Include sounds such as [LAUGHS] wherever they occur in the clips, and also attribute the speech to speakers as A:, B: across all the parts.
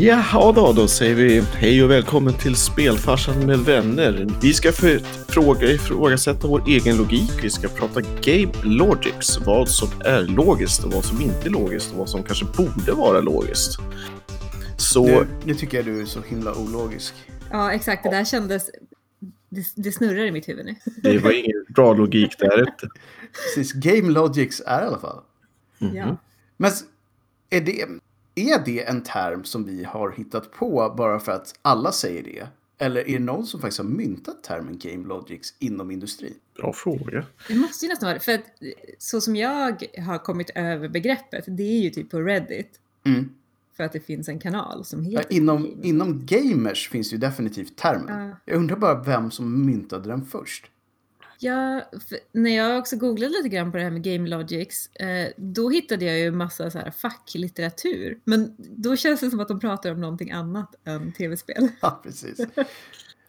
A: Jaha då, då säger vi hej och välkommen till Spelfarsan med vänner. Vi ska för- fråga, ifrågasätta vår egen logik. Vi ska prata game logics, vad som är logiskt och vad som inte är logiskt och vad som kanske borde vara logiskt. Så
B: Nu, nu tycker jag du är så himla ologisk.
C: Ja, exakt. Det där kändes... Det, det snurrar i mitt huvud nu.
B: Mhm.
A: det var ingen bra logik där
B: [LAUGHS]
A: inte.
B: Precis, Game Logics är i alla fall.
A: Mhm.
C: Ja.
B: Men s- är det, är det en term som vi har hittat på bara för att alla säger det? Eller är det någon som faktiskt har myntat termen Game Logics inom industrin?
A: Bra fråga.
C: Det måste ju nästan vara det, För att så som jag har kommit över begreppet, det är ju typ på Reddit.
B: Mm.
C: För att det finns en kanal som
B: Ja,
C: heter...
B: inom,
C: Game.
B: inom gamers finns ju definitivt termen.
C: Ja.
B: Jag undrar bara vem som myntade den först. [LAUGHS]
C: Ja, för när jag också googlade lite grann på det här med Game Logics, eh, då hittade jag ju massa så här facklitteratur. Men då känns det som att de pratar om någonting annat än tv-spel.
B: Ja, precis.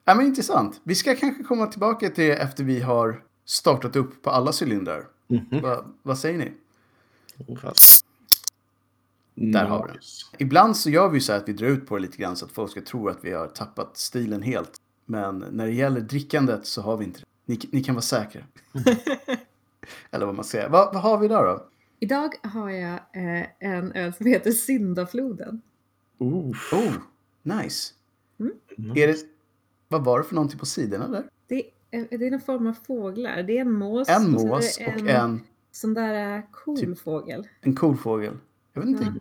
B: Ja, men intressant. Vi ska kanske komma tillbaka till det efter vi har startat upp på alla cylindrar. Va, vad säger ni?
A: Mm, Fast-
B: Där har vi den. Ibland så gör vi så här att vi drar ut på det lite grann så att folk ska tro att vi har tappat stilen helt. Men när det gäller drickandet så har vi inte det. Ni, ni kan vara
C: [LAUGHS]
B: säkra. Eller vad man säger. Vad, vad har vi där då?
C: Idag har jag eh, en öl som heter Syndafloden.
A: Oof.
B: Oh, nice.
C: Mm.
B: Är det, vad var det för någonting på sidorna där?
C: Det är, det är någon form av fåglar. Det är en mås.
B: En
C: och sen är
B: mås
C: det
B: och en,
C: Sån där eh, cool
B: Typ.
C: fågel.
B: en kolfågel. Jag vet inte.
C: Mm.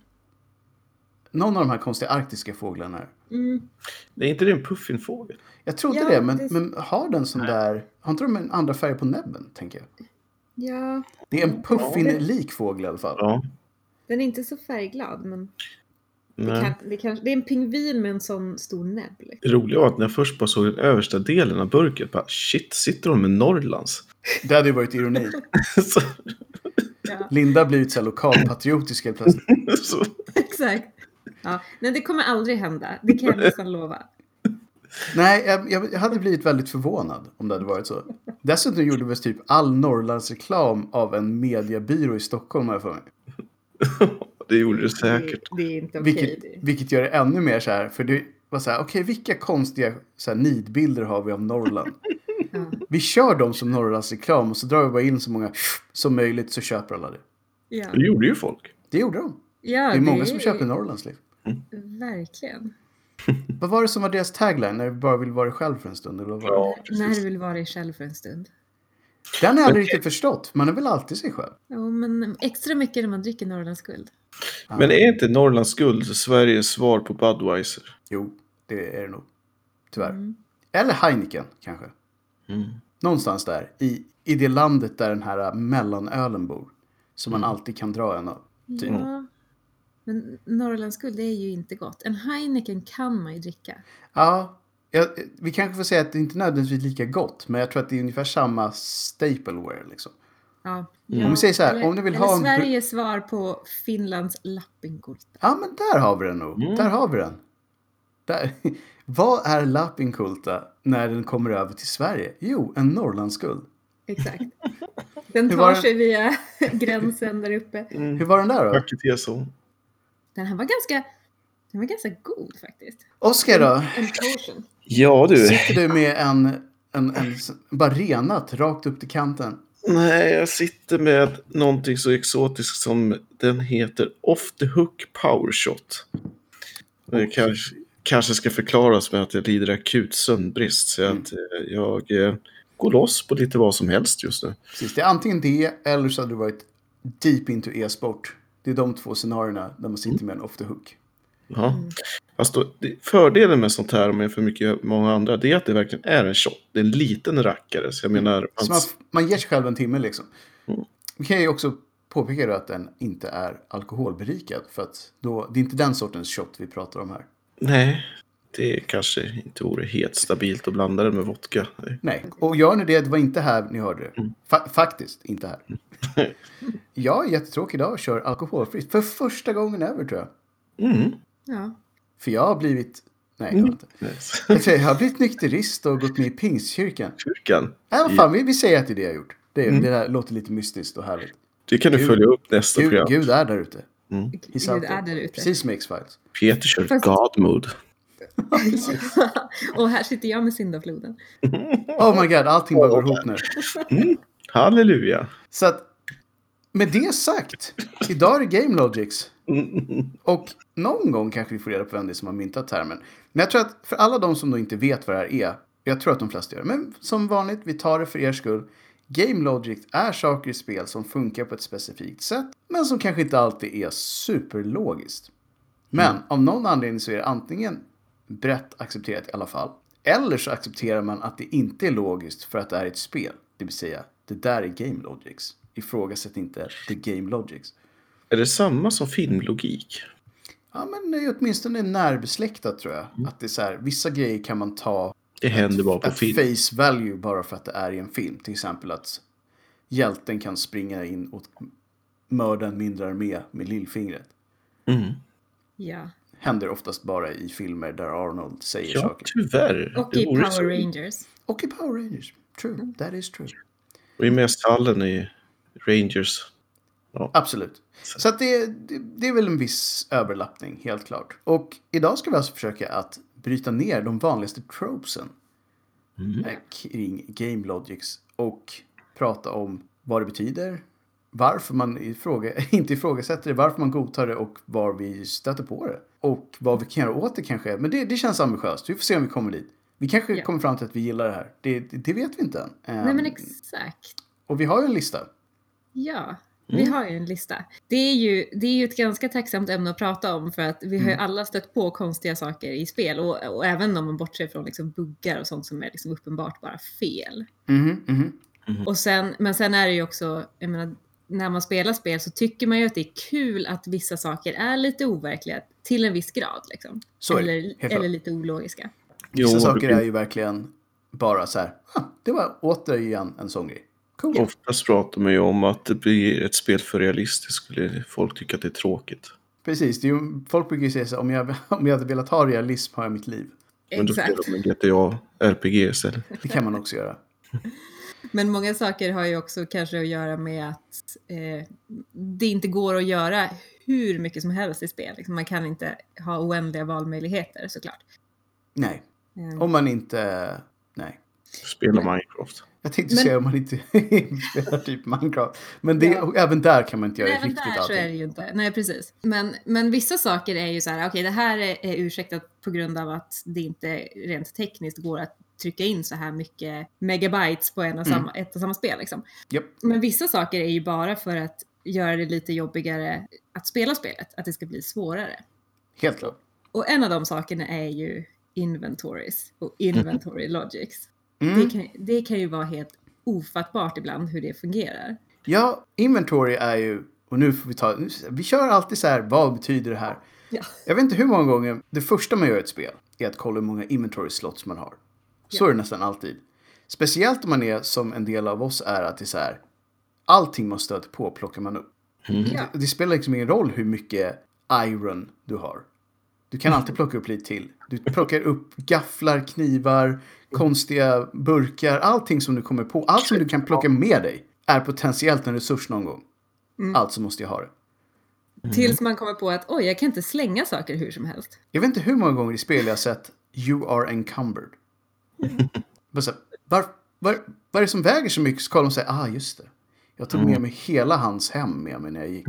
B: Någon av de här konstiga arktiska fåglarna. här.
C: Mm.
A: Det är inte det en puffinfågel?
B: Jag trodde
C: Ja,
B: det, men,
C: det-
B: men har den sån där... Har inte de en andra färg på näbben, tänker jag?
C: Ja,
B: Det
C: Mm.
B: är en puffin-lik fågel i alla fall.
A: Ja.
C: den är inte så färgglad men det,
A: Nej.
C: kan, det, kan, det är en pingvin med en sån stor näbb. liksom.
A: Det roliga var att när jag först bara såg den översta delen av burken, bara shit, sitter de med Norrlands? [LAUGHS]
B: Det hade ju varit ironi.
A: så,
C: Ja,
B: Linda har blivit så här lokalpatriotisk helt plötsligt.
A: så,
C: [LAUGHS] exakt. Ja, nej, det kommer aldrig hända. Det kan jag
B: [LAUGHS]
C: nästan lova.
B: Nej, jag, jag hade blivit väldigt förvånad om det hade varit så. Dessutom gjorde väl typ all Norrlands reklam av en mediebyrå i Stockholm har jag för mig.
A: det gjorde det
C: Det,
A: säkert.
C: det är inte okej.
B: Vilket, vilket gör det ännu mer så här, för det var så här, okej vilka konstiga så här, nidbilder har vi av Norrland?
C: Ja.
B: Vi kör dem som Norrlands reklam och så drar vi bara in så många som möjligt så köper alla det.
C: Ja.
A: Det gjorde ju folk.
B: Det gjorde de.
C: Ja,
B: Det är många som köper Norrlands liv.
C: Verkligen.
B: Vad var det som var deras tagline? När du bara vill vara dig själv för en stund? Eller vad var det?
A: Ja,
C: När du
A: precis.
C: vill vara dig själv för en stund.
B: Den har jag aldrig riktigt förstått. Man är väl alltid sig själv?
C: Jo, men extra mycket när man dricker Norrlands guld.
A: Men är inte Norrlands guld Sveriges svar på Budweiser?
B: Jo, det är det nog. Tyvärr.
C: Mm.
B: Eller Heineken kanske.
A: Mm.
B: Någonstans där. I, I det landet där den här mellanölen bor. Som
A: Mm.
B: man alltid kan dra en av. Typ.
C: Ja. Men Norrlands guld det är ju inte gott. En Heineken kan man ju dricka.
B: Ja, jag, vi kanske får säga att det inte nödvändigtvis är lika gott. Men jag tror att det är ungefär samma stapleware liksom.
C: Ja.
B: Om vi säger så här,
C: Eller-
B: om ni vill
C: eller
B: ha en br-
C: Sveriges svar på Finlands lappinkulta.
B: Ja, men där har vi den nog.
A: Mm.
B: Där har vi den. Där. [LAUGHS] Vad är Lapinkulta när den kommer över till Sverige? Jo, en Norrlandsguld. [LAUGHS]
C: Exakt. Den
B: Hur var
C: tar
B: den?
C: sig via [LAUGHS] gränsen där uppe.
A: Mm.
B: Hur var den där då?
A: Tack till TSO.
C: Den här var ganska, den var ganska god faktiskt.
B: Oskar då?
C: En potion.
A: Ja du.
B: Sitter du med en, en, en s- bara renat rakt upp till kanten?
A: Nej, jag sitter med någonting så exotiskt som den heter Off the Hook Power Shot. Det kanske, kanske ska förklaras med att jag lider akut sömnbrist. Så att eh, jag eh, går loss på lite vad som helst just nu.
B: Precis, det är antingen det eller så hade du varit deep into e-sport. Det är de två scenarierna där man sitter med en off the hook.
A: Ja. Fast då, det- fördelen med sånt här, om jämfört med mycket många andra, det är att det verkligen är en shot. Det är en liten rackare. Så jag menar,
B: Så
A: man,
B: man, f- man ger sig själv en timme liksom.
A: Mm.
B: Vi kan ju också påpeka då att den inte är alkoholberikad. För att då, det är inte den sortens shot vi pratar om här.
A: nej, det kanske inte vore helt stabilt att blanda den med vodka. Nej.
B: Nej, och gör ni det, det var inte här ni hörde det. Fa- faktiskt, inte här. jag är jättetråkig idag och kör alkoholfritt. För första gången över tror jag.
A: Mm.
C: Ja.
B: För jag har blivit... Nej,
C: Mm.
B: jag har inte.
A: [LAUGHS]
B: Jag, säger, jag har blivit nykterist och gått med i pingstkyrkan.
A: Kyrkan.
B: Nej, vad fan, vi, vi säger
C: Mm.
B: att det är det jag har gjort. Det, är- det där låter lite mystiskt och härligt.
A: Det kan du
B: Gud.
A: följa upp nästa
B: Gud,
A: program.
B: Gud är där ute.
A: Mm.
B: Hisato.
C: är där ute.
B: Precis som i X-Files.
A: Peter kör
C: Fast-
A: God mode.
C: [LAUGHS] och här sitter jag med syndafloden.
B: Oh my god, allting bara går ihop nu.
A: Halleluja.
B: Så att med det sagt, idag är det Game Logics. Och någon gång kanske vi får reda på vem det är som har myntat termen. Men jag tror att för alla de som då inte vet vad det här är, jag tror att de flesta gör det, men som vanligt, vi tar det för er skull. Game Logic är saker i spel som funkar på ett specifikt sätt, men som kanske inte alltid är superlogiskt. Men av någon anledning så är det antingen brett accepterat i alla fall, eller så accepterar man att det inte är logiskt för att det är ett spel. Det vill säga, det där är Game Logics. Ifrågasätt inte the Game Logics.
A: Är det samma som filmlogik?
B: Ja, men det är åtminstone närbesläktat tror jag. Att det är så här, vissa grejer kan man ta
A: Det händer bara på
B: at
A: film.
B: face value bara för att det är i en film. Till exempel att hjälten kan springa in och mörda en mindre armé med lillfingret.
A: Mm.
C: Ja.
B: Händer oftast bara i filmer där Arnold säger
A: Ja,
B: saker.
A: tyvärr.
C: Och
A: Det
C: i
A: vore
C: Power
A: så.
C: Rangers.
B: Och i Power Rangers. True, that is true.
A: Och i mässhallen i Rangers.
B: Absolut. Så att det, det, det är väl en viss överlappning, helt klart. Och idag ska vi alltså försöka att bryta ner de vanligaste tropesen eh, kring game logics och prata om vad det betyder, varför man ifråga, [LAUGHS] inte ifrågasätter det, varför man godtar det och var vi stöter på det. Och vad vi kan göra åt det kanske. Men det, det känns ambitiöst. Vi får se om vi kommer dit. Vi kanske
C: Ja.
B: kommer fram till att vi gillar det här. Det, det, det vet vi inte än.
C: Nej
B: Ehm,
C: men exakt.
B: och vi har ju en lista.
C: Ja, vi
B: Mm.
C: har ju en lista. Det är ju, det är ju ett ganska tacksamt ämne att prata om för att vi har ju
B: Mm.
C: alla stött på konstiga saker i spel och, och även om man bortser från liksom buggar och sånt som är liksom uppenbart bara fel.
B: Mhm, mhm.
C: Och sen, men sen är det ju också, jag menar, när man spelar spel så tycker man ju att det är kul att vissa saker är lite overkliga till en viss grad. Liksom.
B: Så är det, helt
C: eller,
B: klart.
C: eller lite ologiska.
A: Jo,
B: Vissa saker
A: det
B: är ju verkligen bara så här, "Ah, det var återigen en sån grej. Cool.
A: Oftast pratar man ju om att det blir ett spel för realistiskt skulle folk tycka att det är tråkigt.
B: Precis, det är ju, folk brukar ju säga så här, om jag, [LAUGHS] om jag hade velat ha realism har jag mitt liv.
A: Men då
C: Exakt.
A: spelar de en GTA RPG istället.
B: Det kan man också göra.
C: Men många saker har ju också kanske att göra med att eh, det inte går att göra hur mycket som helst i spel. Liksom man kan inte ha oändliga valmöjligheter såklart.
B: Nej,
C: Eh,
B: om man inte... Nej.
A: Spela Minecraft.
B: Jag tänkte
C: Men-
B: säga om man inte [LAUGHS] spelar typ Minecraft. Men det,
C: Ja.
B: och även där kan man inte göra
C: Nej, men
B: riktigt
C: där så är det
B: allting.
C: ju inte. Nej, precis. Men, men vissa saker är ju så här, okej, det här är, är ursäktat på grund av att det inte rent tekniskt går att trycka in så här mycket megabytes på en och
B: Mm.
C: samma, ett och samma spel. Liksom.
B: Japp.
C: Men vissa saker är ju bara för att göra det lite jobbigare att spela spelet, att det ska bli svårare.
B: Helt klart.
C: Och en av de sakerna är ju inventories och
A: Mhm.
C: inventory logics.
B: Mm.
C: Det, kan, det kan ju vara helt ofattbart ibland hur det fungerar.
B: Ja, inventory är ju... Och nu får vi ta... Nu, vi kör alltid så här, vad betyder det här?
C: Ja.
B: Jag vet inte hur många gånger det första man gör i ett spel är att kolla hur många inventory slots man har. Så är det nästan alltid. Speciellt om man är som en del av oss är att det är så här. Allting man stöter på plockar man upp.
C: Ja.
B: Det spelar liksom ingen roll hur mycket iron du har. Du kan alltid plocka upp lite till. Du plockar upp gafflar, knivar, konstiga burkar, allting som du kommer på. Allt som du kan plocka med dig är potentiellt en resurs någon gång. Alltså måste jag ha det.
A: Mhm.
C: Tills man kommer på att oj, jag kan inte slänga saker hur som helst. [LAUGHS]
B: Jag vet inte hur många gånger i spel jag har sett You are encumbered. Bara så här, var, var, vad är det som väger så mycket? Så kollar de och säger, ah just det. Jag tog med mig hela hans hem med mig när jag gick.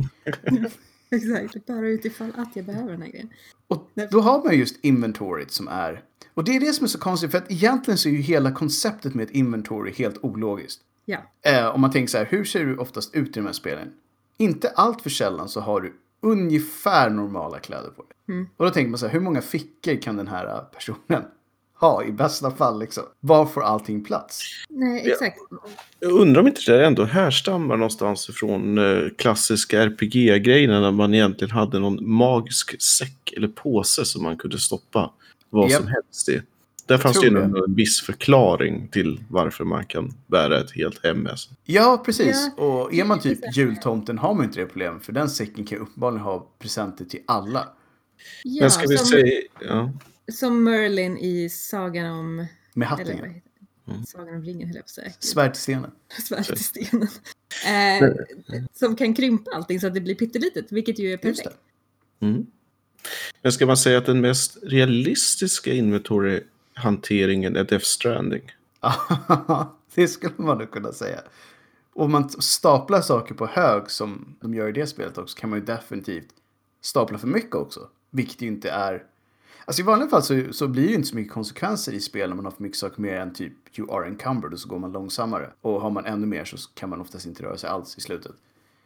C: Exakt, bara utifall att jag behöver den här grejen.
B: Och då har man just inventoriet som är... Och det är det som är så konstigt, för att egentligen så är ju hela konceptet med ett inventory helt ologiskt.
C: Ja,
B: Eh, om man tänker så här, hur ser du oftast ut i de här spelen? Inte allt för sällan så har du ungefär normala kläder på dig.
C: Mm.
B: Och då tänker man så här, hur många fickor kan den här eh, personen [LAUGHS] ha i bästa fall liksom? Var får allting plats?
C: nej exakt.
A: Jag undrar om inte det där ändå härstammar någonstans ifrån eh, klassiska RPG-grejerna när man egentligen hade någon magisk säck eller påse som man kunde stoppa vad
B: Japp.
A: som helst i. Där fanns det ju
B: tror
A: ändå en viss förklaring till varför man kan bära ett helt hem med sig.
B: Ja, precis.
C: Ja,
B: och är man typ
C: precis.
B: jultomten har man inte det problemet, för den säcken kan ju uppenbarligen ha presenter till alla.
C: Ja,
A: Men ska vi
C: som,
A: säga... Ja.
C: som Merlin i sagan om...
B: Med
C: Eller,
B: hatten.
C: vad
B: ja.
C: heter
A: Mm.
C: Sagan om ringen höll jag på att säga.
B: Svärd till stenen.
C: Svärd till stenen. Eh, som kan krympa allting så att det blir pyttelitet, vilket ju är
B: Just det.
C: perfekt.
A: Mm. Men ska man säga att den mest realistiska inventory-hanteringen är Death Stranding?
B: [LAUGHS] det skulle man nog kunna säga. Om man staplar saker på hög som de gör i det spelet också kan man ju definitivt stapla för mycket också. Vilket ju inte är... Alltså i vanliga fall så, så blir det ju inte så mycket konsekvenser i spel när man har för mycket saker mer än typ you are encumbered och så går man långsammare. Och har man ännu mer så kan man oftast inte röra sig alls i slutet.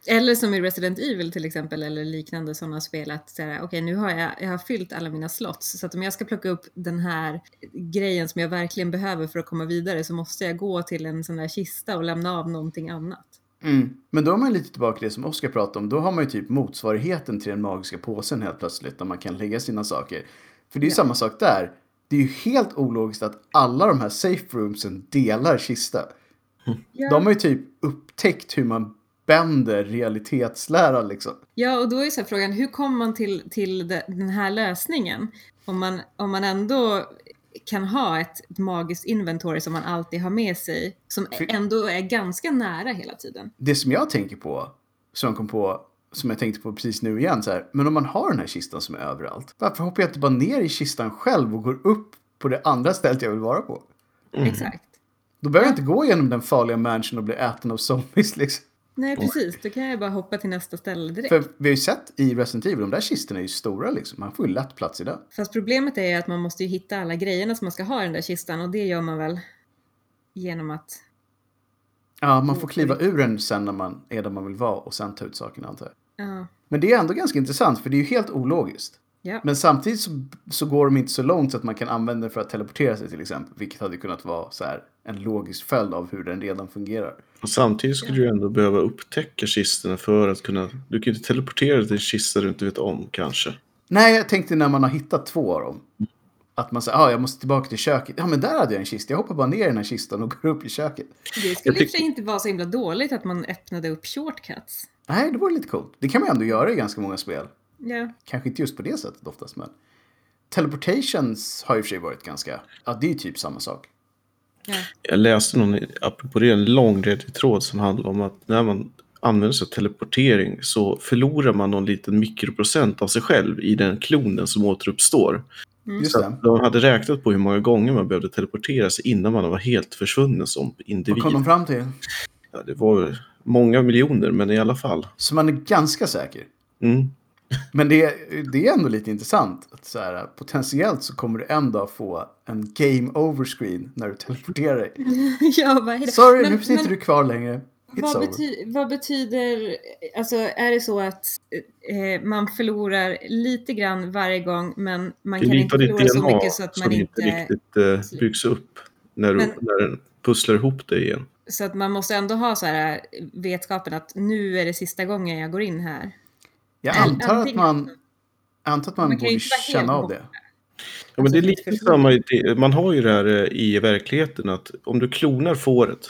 C: Eller som i Resident Evil till exempel, eller liknande sådana spel, att så här, okej nu har jag, jag har fyllt alla mina slots, så att om jag ska plocka upp den här grejen som jag verkligen behöver för att komma vidare så måste jag gå till en sån där kista och lämna av någonting annat.
B: Mm. Men då är man lite tillbaka till det som Oskar pratade om. Då har man ju typ motsvarigheten till den magiska påsen helt plötsligt. Där man kan lägga sina saker. För det är ju
C: Ja.
B: samma sak där. Det är ju helt ologiskt att alla de här safe roomsen delar kista.
C: Ja.
B: De har ju typ upptäckt hur man bänder realitetslära liksom.
C: Ja, och då är så här frågan, hur kommer man till, till de- den här lösningen? Om man, om man ändå kan ha ett magiskt inventory som man alltid har med sig, som
B: Fy-
C: ändå är ganska nära hela tiden.
B: Det som jag tänker på, som jag kom på, som jag tänkte på precis nu igen så här. Men om man har den här kistan som är överallt. Varför hoppar jag inte bara ner i kistan själv och går upp på det andra stället jag vill vara på? Mm.
C: Exakt.
B: Då behöver jag inte gå igenom den farliga mansion och bli äten av zombies liksom.
C: Nej, precis. Då kan jag bara hoppa till nästa ställe direkt.
B: För vi har ju sett i Resident Evil, de där kistorna är ju stora liksom. Man får ju lätt plats i den.
C: Fast problemet är ju att man måste ju hitta alla grejerna som man ska ha i den där kistan och det gör man väl genom att...
B: Ja, man får kliva ur den sen när man är där man vill vara och sen ta ut sakerna antar jag.
C: Ja,
B: Men det är ändå ganska intressant för det är ju helt ologiskt.
C: ja.
B: Men samtidigt så, så går de inte så långt så att man kan använda det för att teleportera sig till exempel. Vilket hade kunnat vara så här en logisk följd av hur den redan fungerar.
A: Och samtidigt skulle du ändå behöva upptäcka kisterna för att kunna... Du kan ju inte teleportera dig till en kista du inte vet om kanske.
B: Nej, jag tänkte när man har hittat två av dem. Att man säger, ah, jag måste tillbaka till köket. Ja, men där hade jag en kista. Jag hoppar bara ner i den här kistan och går upp i köket.
C: Det skulle i
A: tyck-
C: och för sig inte vara så himla dåligt att man öppnade upp shortcuts.
B: Nej, det vore lite coolt. Det kan man ändå göra i ganska många spel.
C: Ja.
B: Kanske inte just på det sättet oftast, men teleportations har ju i och för sig varit ganska, ja det är ju typ samma sak.
C: ja.
A: Jag läste någon, apropå det, en lång redig tråd som handlar om att när man använder sig av teleportering så förlorar man någon liten mikroprocent av sig själv i den klonen som återuppstår.
B: Just
A: Så
B: det.
A: att de hade räknat på hur många gånger man behövde teleportera sig innan man var helt försvunnen som
B: Vad
A: individ.
B: kom de fram till?
A: Ja, det var väl många miljoner, men i alla fall.
B: Så man är ganska säker.
A: Mm.
B: Men det, det är ändå lite intressant att så här, potentiellt så kommer du en dag få en game over screen när du teleporterar dig.
C: [LAUGHS] ja bara, hejdå.
B: Sorry,
C: Men-
B: nu finns inte
C: men-
B: du kvar längre. It's
C: Vad,
B: over.
C: bety vad betyder, alltså är det så att eh, man förlorar lite grann varje gång men man
A: Det
C: kan inte
A: liknar ditt
C: förlora så
A: DNA
C: mycket så att
A: som
C: man
A: inte
C: inte,
A: riktigt eh, byggs upp när, du,
C: Men-
A: när den pusslar ihop det igen.
C: så att man måste ändå ha så här eh, vetskapen att nu är det sista gången jag går in här.
B: Jag
C: Eller
B: antar att
C: antingen-
B: man, jag antar att man,
C: Man kan
B: borde
C: ju inte vara helt
B: känna av det.
A: Ja, men det är
C: Alltså,
A: lite
C: förstår-
A: samma idé. Man har ju det här eh, i verkligheten att om du klonar fåret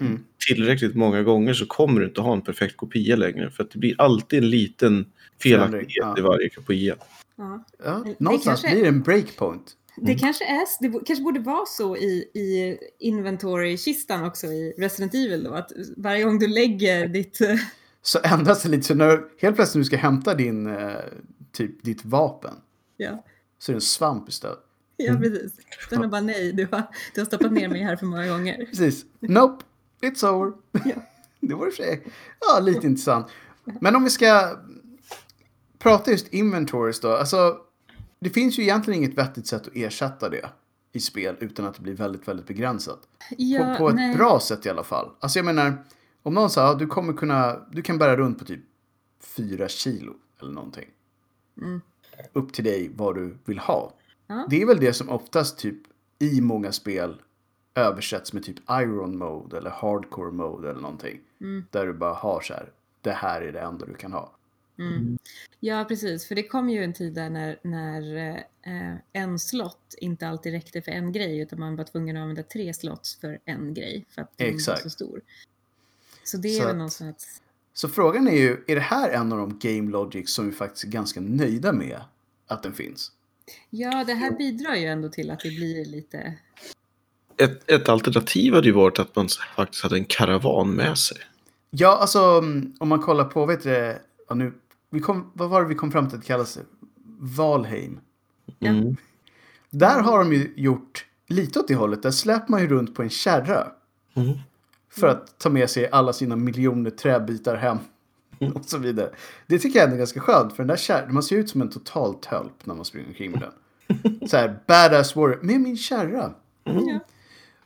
B: Mm.
A: tillräckligt många gånger så kommer du inte ha en perfekt kopia längre. För att det blir alltid en liten felaktighet
B: Förändring, ja.
A: i varje kopia.
C: Ja.
B: Ja,
C: Det
B: någonstans
C: kanske-
B: blir det en breakpoint.
C: Det kanske är, det bo- kanske borde vara så i, i inventory-kistan också i Resident Evil då, att varje gång du lägger ditt, [LAUGHS] eh,
B: Så ändras det lite. Så när du helt plötsligt du ska hämta din, eh, typ ditt vapen
C: ja,
B: så är det en svamp istället. Mm.
C: ja precis. Sen är bara nej, du har, du har stoppat ner mig här för många
B: [LAUGHS]
C: gånger.
B: Precis. Nope, it's over. [LAUGHS] det var i och för sig ja, lite intressant. Men om vi ska prata just inventories då. Alltså, det finns ju egentligen inget vettigt sätt att ersätta det i spel utan att det blir väldigt, väldigt begränsat. på,
C: Ja,
B: på ett
C: nej.
B: bra sätt i alla fall. Alltså jag menar, om någon sa att du kommer kunna, du kan bära runt på typ fyra kilo eller någonting. Upp till dig vad du vill ha.
C: Mm. Ja.
B: Det är väl det som oftast typ i många spel översätts med typ iron mode eller hardcore mode eller någonting.
C: Mm.
B: Där du bara har så här, det här är det enda du kan ha.
C: Ja, precis. För det kom ju en tid där när, när eh, en slott inte alltid räckte för en grej, utan man var tvungen att använda tre slots för en grej, för att den var
B: Exakt.
C: så stor. Så det är
B: Så
C: väl
B: att-
C: någonstans...
B: Så frågan är ju, är det här en av de game logics som vi faktiskt är ganska nöjda med att den finns?
C: Ja, det här bidrar ju ändå till att det blir lite
A: Ett, ett alternativ hade ju varit att man faktiskt hade en karavan med sig.
B: Ja, alltså mm, om man kollar på, vet du, det, ja, nu, vi kom, vad var det vi kom fram till att det kallas? Valheim.
A: Mm.
B: Där har de ju gjort lite åt det hållet. Där släpper man ju runt på en kärra.
A: Mm.
B: För att ta med sig alla sina miljoner träbitar hem. Och så vidare. Det tycker jag ändå är ganska skönt. För den där kärran, man ser ut som en total tölp när man springer omkring med den. Så här badass warrior med min kärra.
C: Ja.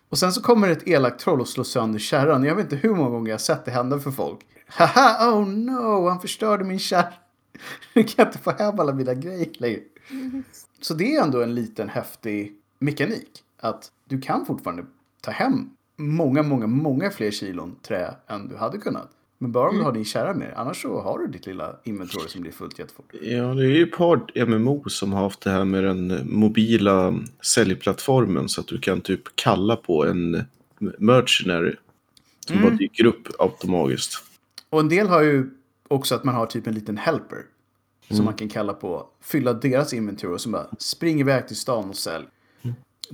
B: Och sen så kommer ett elakt troll och slår sönder kärran. Jag vet inte hur många gånger jag har sett det hända för folk. Haha, oh no, han förstörde min kärra. [LAUGHS] Nu kan jag inte få hem alla mina grejer längre. Så det är ändå en liten häftig mekanik. Att du kan fortfarande ta hem många, många, många fler kilon trä än du hade kunnat. Men bara om du har din kärra med dig. Annars så har du ditt lilla inventory som blir fullt jättefort.
A: Ja, det är ju ett par MMO som har haft det här med den mobila säljplattformen så att du kan typ kalla på en mercenary som
B: Mm.
A: bara dyker upp automatiskt.
B: Och en del har ju också att man har typ en liten helper. Som man kan kalla på. Fylla deras inventory och som bara spring iväg till stan och sälj.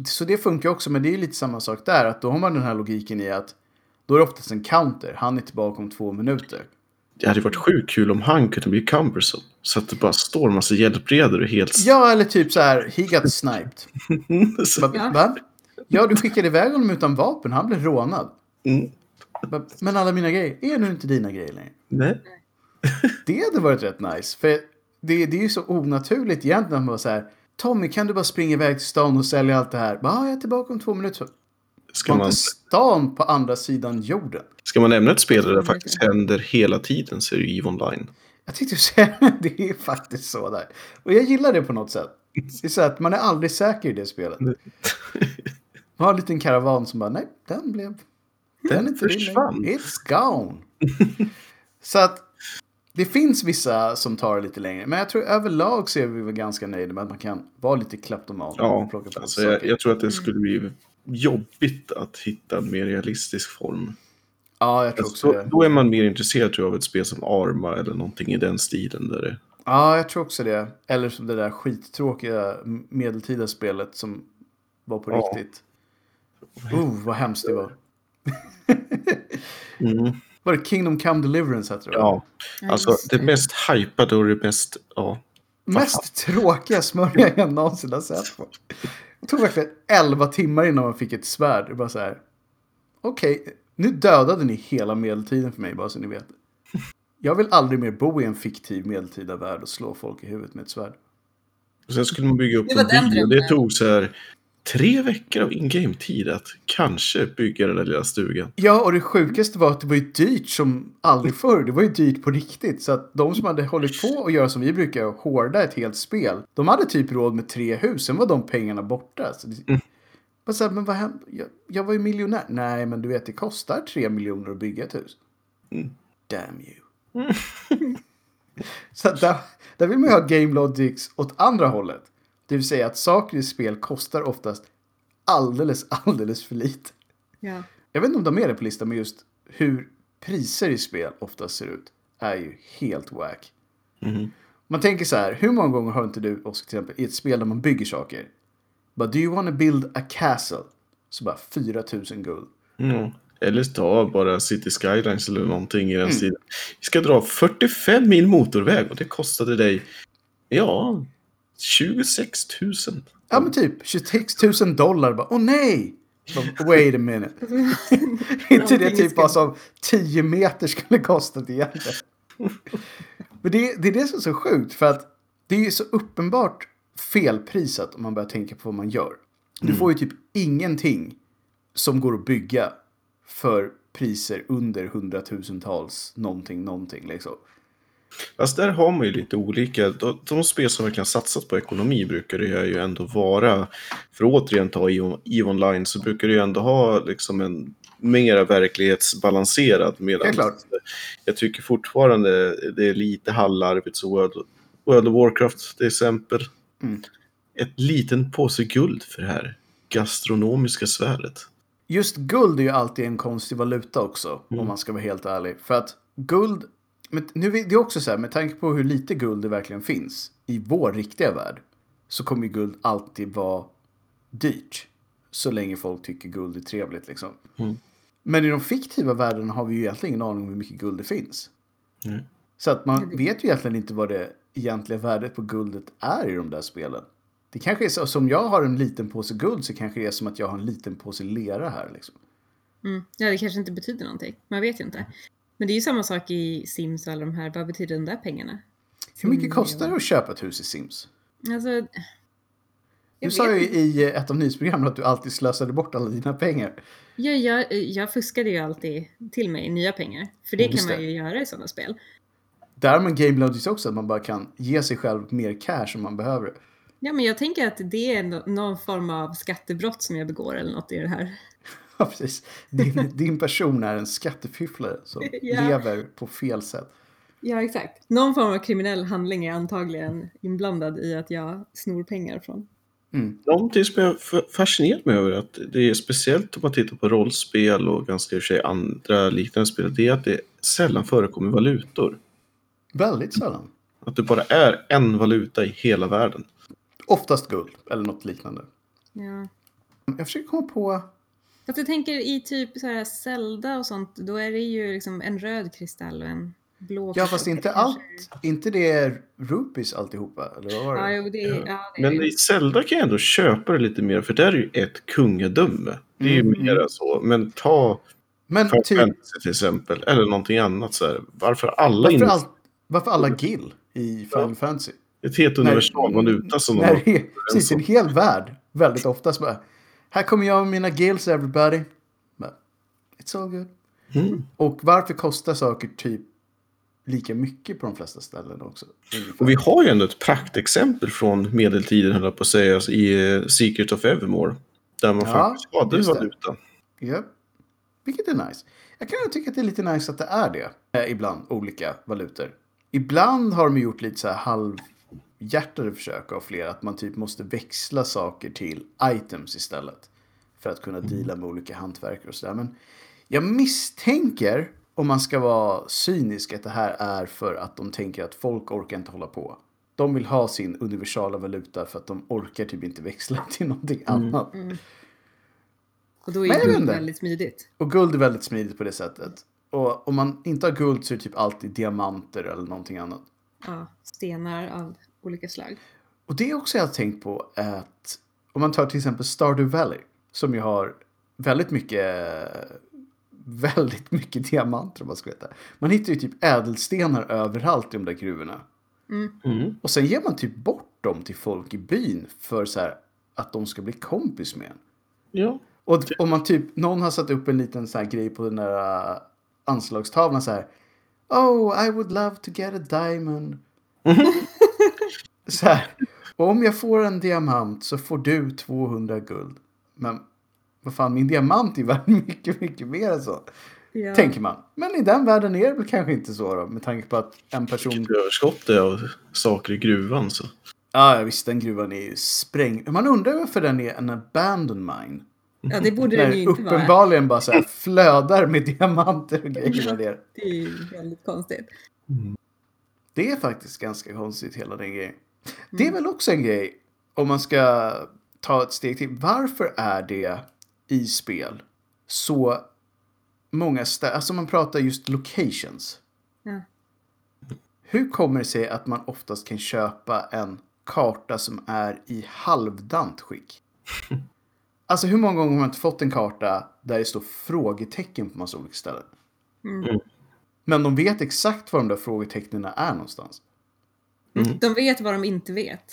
B: Så det funkar också, men det är ju lite samma sak där. Att då har man den här logiken i att då är det oftast en counter. Han är tillbaka om två minuter.
A: Det hade varit sjukt kul om han kunde bli cumbersome så att det bara står en massa hjälpredor och helt...
B: Ja, eller typ så här, he got sniped.
A: så,
B: Bara,
C: Ja.
B: Va? Ja, du skickade iväg honom utan vapen. Han blev rånad.
A: mm,
B: Bara, Men alla mina grejer är nu inte dina grejer längre.
A: nej.
B: Det hade varit rätt nice. För det, det är ju så onaturligt egentligen att man bara så här. Tommy, kan du bara springa iväg till stan och sälja allt det här? Bara, "Ja, jag är tillbaka om två minuter.
A: Ska
B: Var
A: man,
B: inte stan på andra sidan jorden?
A: ska man nämna ett spel där det faktiskt händer hela tiden så är det ju EVE Online.
B: Jag tyckte säga [LAUGHS] det är faktiskt så där. Och jag gillar det på något sätt. Det är så att man är aldrig säker i det spelet. Man har en liten karavan som bara, nej, den blev... Den är inte din
A: försvann.
B: längre. It's
A: [LAUGHS]
B: gone. så att det finns vissa som tar det lite längre. Men jag tror överlag så är vi väl ganska nöjda med att man kan vara lite kleptoman.
A: Ja,
B: och plocka på
A: alltså,
B: saker.
A: jag, jag tror
B: Mm.
A: att det skulle bli jobbigt att hitta en mer realistisk form.
B: ja, jag tror också
A: Alltså, då,
B: det.
A: då är man mer intresserad tror jag, av ett spel som Arma eller någonting i den stilen. Där det,
B: Ja, jag tror också det. Eller som det där skittråkiga medeltida spelet som var på
A: Ja.
B: riktigt. Oh, vad hemskt det var.
A: Mm.
B: Var det Kingdom Come Deliverance hette det? va?
A: ja. Alltså
C: just
A: det mest hypade och det mest, ja.
B: Mest tråkiga smörja jag någonsin har sett på. Det tog verkligen 11 timmar innan man fick ett svärd. Det var så här. Okej, nu dödade ni hela medeltiden för mig bara så ni vet. Jag vill aldrig mer bo i en fiktiv medeltida värld och slå folk i huvudet med ett svärd.
A: Och sen skulle man bygga upp
C: Det var
A: en
C: den
A: by och det
C: drömmen.
A: tog så här tre veckor av in-game-tid att kanske bygga den där lilla stugan.
B: Ja, och det sjukaste var att det var ju dyrt som aldrig förr. Det var ju dyrt på riktigt. Så att de som hade hållit på och göra som vi brukar, och hårda ett helt spel. De hade typ råd med tre hus, sen var de pengarna borta. Så det, Bara så här, men vad hände? Jag, jag var ju miljonär. Nej, men du vet, det kostar tre miljoner att bygga ett hus. Damn you. [LAUGHS] så att där, där vill man ju ha game logics åt andra hållet. Det vill säga att saker i spel kostar oftast alldeles, alldeles för lite.
C: Ja.
B: Jag vet inte om de är det på listan, men just hur priser i spel ofta ser ut är ju helt wack. Man tänker så här, hur många gånger har inte du, Oskar, till exempel, i ett spel där man bygger saker? Bara, do you wanna build a castle? Så bara 4000 guld.
A: Mm. Eller ta bara City Skylines eller någonting i den stilen. Vi ska dra 45 mil motorväg och det kostade dig, ja, 26 000.
B: Ja, men typ 26 000 dollar. Bara, åh nej! Bara, Wait a minute. [LAUGHS] inte det
C: Någonting
B: typ
C: ska-
B: vad som 10 meter skulle kostat egentligen. men det, det är det som är så sjukt. För att det är ju så uppenbart felprisat om man börjar tänka på vad man gör. Du får ju typ ingenting som går att bygga för priser under hundratusentals någonting, någonting liksom.
A: Fast där har man ju lite olika. De, de spel som verkligen satsat på ekonomi brukar det ju ändå vara, för att återigen ta E EVE EVE Online, så brukar det ju ändå ha liksom en mera verklighetsbalanserad. Medan
B: Ja, klart.
A: jag tycker fortfarande det är lite hallarvigt. Så World, World of Warcraft till exempel.
B: Mm.
A: Ett liten påse guld för det här gastronomiska svärdet.
B: Just guld är ju alltid en konstig valuta också, om man ska vara helt ärlig. För att guld, men nu är det är också så här, med tanke på hur lite guld det verkligen finns i vår riktiga värld, så kommer ju guld alltid vara dyrt. Så länge folk tycker guld är trevligt liksom.
A: Mm.
B: Men i de fiktiva världarna har vi ju egentligen ingen aning om hur mycket guld det finns.
A: Mm.
B: Så att man
C: Mm.
B: vet ju egentligen inte vad det egentliga värdet på guldet är i de där spelen. Det kanske är så, som jag har en liten påse guld så kanske det är som att jag har en liten påse lera här liksom.
C: Mm. Ja, det kanske inte betyder någonting. Man vet ju inte. Men det är ju samma sak i Sims och alla de här. Vad betyder de där pengarna?
B: Hur mycket
C: Mm,
B: kostar det att köpa ett hus i Sims?
C: Alltså... jag
B: Du
C: vet
B: sa ju
C: inte.
B: i eh, ett av nyhetsprogrammen att du alltid slösade bort alla dina pengar.
C: Ja, jag, jag fuskade ju alltid till mig nya pengar. För det
B: Mm,
C: kan
B: just
C: man
B: det.
C: ju göra i sådana spel.
B: Där har man game logics också, att man bara kan ge sig själv mer cash om man behöver [LAUGHS] det.
C: Ja, men jag tänker att det är nå- någon form av skattebrott som jag begår eller något i det här.
B: Ja, precis.
C: [LAUGHS]
B: Din, din person är en skattefifflare som
C: Ja.
B: lever på fel sätt.
C: Ja, exakt. Någon form av kriminell handling är antagligen inblandad i att jag snor pengar från.
B: Mm.
A: Någonting som jag f- fascinerat mig över, är att det är speciellt om man tittar på rollspel och ganska i och för sig andra liknande spel, det är att det sällan förekommer valutor.
B: Väldigt sällan.
A: Att det bara är en valuta i hela världen.
B: Oftast guld eller något liknande.
C: Ja.
B: Jag försöker komma på...
C: Fast jag tänker i typ så här Zelda och sånt, då är det ju liksom en röd kristall och en blå
B: Ja,
C: kristall.
B: fast inte allt.
C: kanske.
B: Inte det är rupees alltihopa, eller vad var
C: Ja,
B: det?
C: jo, det, ja, det är
A: Men
C: det.
A: i Zelda kan jag ändå köpa det lite mer, för där är ju ett kungadöme. Det är ju
B: Mm.
A: mer så. Men ta
B: Men
A: Final
B: typ,
A: Fantasy till exempel, eller någonting annat. Så här. Varför alla in...
B: varför, all, varför alla gill i Final Fantasy?
A: ett helt universalvaluta som de
B: när
A: har?
B: det är precis en hel värld väldigt ofta så bara, här kommer jag med mina gills everybody. Men, it's all good.
A: Mm.
B: Och varför kostar saker typ lika mycket på de flesta ställen också?
A: Och vi har ju ändå ett praktexempel från medeltiden, höll jag på att säga, alltså i eh, Secret of Evermore. Där man
B: Ja,
A: faktiskt hade
B: just det.
A: valuta.
B: Ja. Vilket är nice. Jag kan ju tycka att det är lite nice att det är det. Eh, ibland, olika valutor. Ibland har de ju gjort lite så här halvhjärtade försök av flera. Att man typ måste växla saker till items istället. För att kunna deala med olika hantverkare och sådär. Men jag misstänker, om man ska vara cynisk, att det här är för att de tänker att folk orkar inte hålla på. De vill ha sin universala valuta för att de orkar typ inte växla [LAUGHS] till någonting annat.
C: Och då är
B: Men jag vet
C: ju guld
B: inte.
C: väldigt smidigt.
B: Och guld är väldigt smidigt på det sättet. Och om man inte har guld så är det typ alltid diamanter eller någonting annat.
C: Ja, stenar av olika slag.
B: Och det är också jag har tänkt på att om man tar till exempel Stardew Valley som ju har väldigt mycket [LAUGHS] väldigt mycket diamanter om man ska veta. Man hittar ju typ ädelstenar överallt i de där gruvorna.
A: Mm.
B: Och sen ger man typ bort dem till folk i byn för så här att de ska bli kompis med en.
A: Ja.
B: Och d- om man typ, någon har satt upp en liten sån här grej på den där äh, anslagstavlan så här. Oh, I would love to get a diamond. så här. Om jag får en diamant så får du 200 guld. Men vad fan, min diamant är värd [LAUGHS] mycket, mycket mer än så.
C: Ja.
B: Tänker man. Men i den världen är det väl kanske inte så då. Med tanke på att en person...
A: Vilket överskott det är av saker i gruvan. Så.
B: Ja, ah, visst, den gruvan är ju sprängd. Man undrar varför den är en abandoned mine.
C: Ja, det borde den ju
B: När
C: inte vara.
B: uppenbarligen bara så här flödar med diamanter och grejer där nere.
C: Det är ju väldigt konstigt.
B: Det är faktiskt ganska konstigt hela den grejen. Det är väl också en grej om man ska ta ett steg till. Varför är det i spel så många städer, alltså man pratar just locations.
C: Ja.
B: Hur kommer det sig att man oftast kan köpa en karta som är i halvdant skick? Alltså hur många gånger har man inte fått en karta där det står frågetecken på massa olika ställen?
C: Mm.
B: Men de vet exakt var de där frågetecknen är någonstans.
C: De vet vad de inte vet.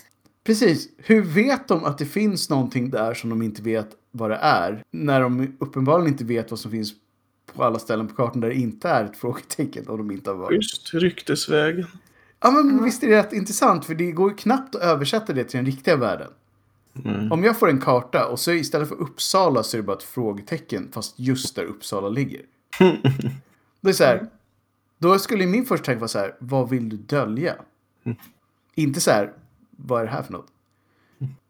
B: Precis. Hur vet de att det finns någonting där som de inte vet vad det är? När de uppenbarligen inte vet vad som finns på alla ställen på kartan där det inte är ett frågetecken och de inte har varit.
A: Just ryktesvägen.
B: Ja, men visst är det rätt intressant för det går ju knappt att översätta det till den riktiga världen. Om jag får en karta och så istället för Uppsala så är det bara ett frågetecken fast just där Uppsala ligger. det är så här,
C: Mm.
B: då skulle min första tanke vara så här, vad vill du dölja? Inte så här, vad är det här för något?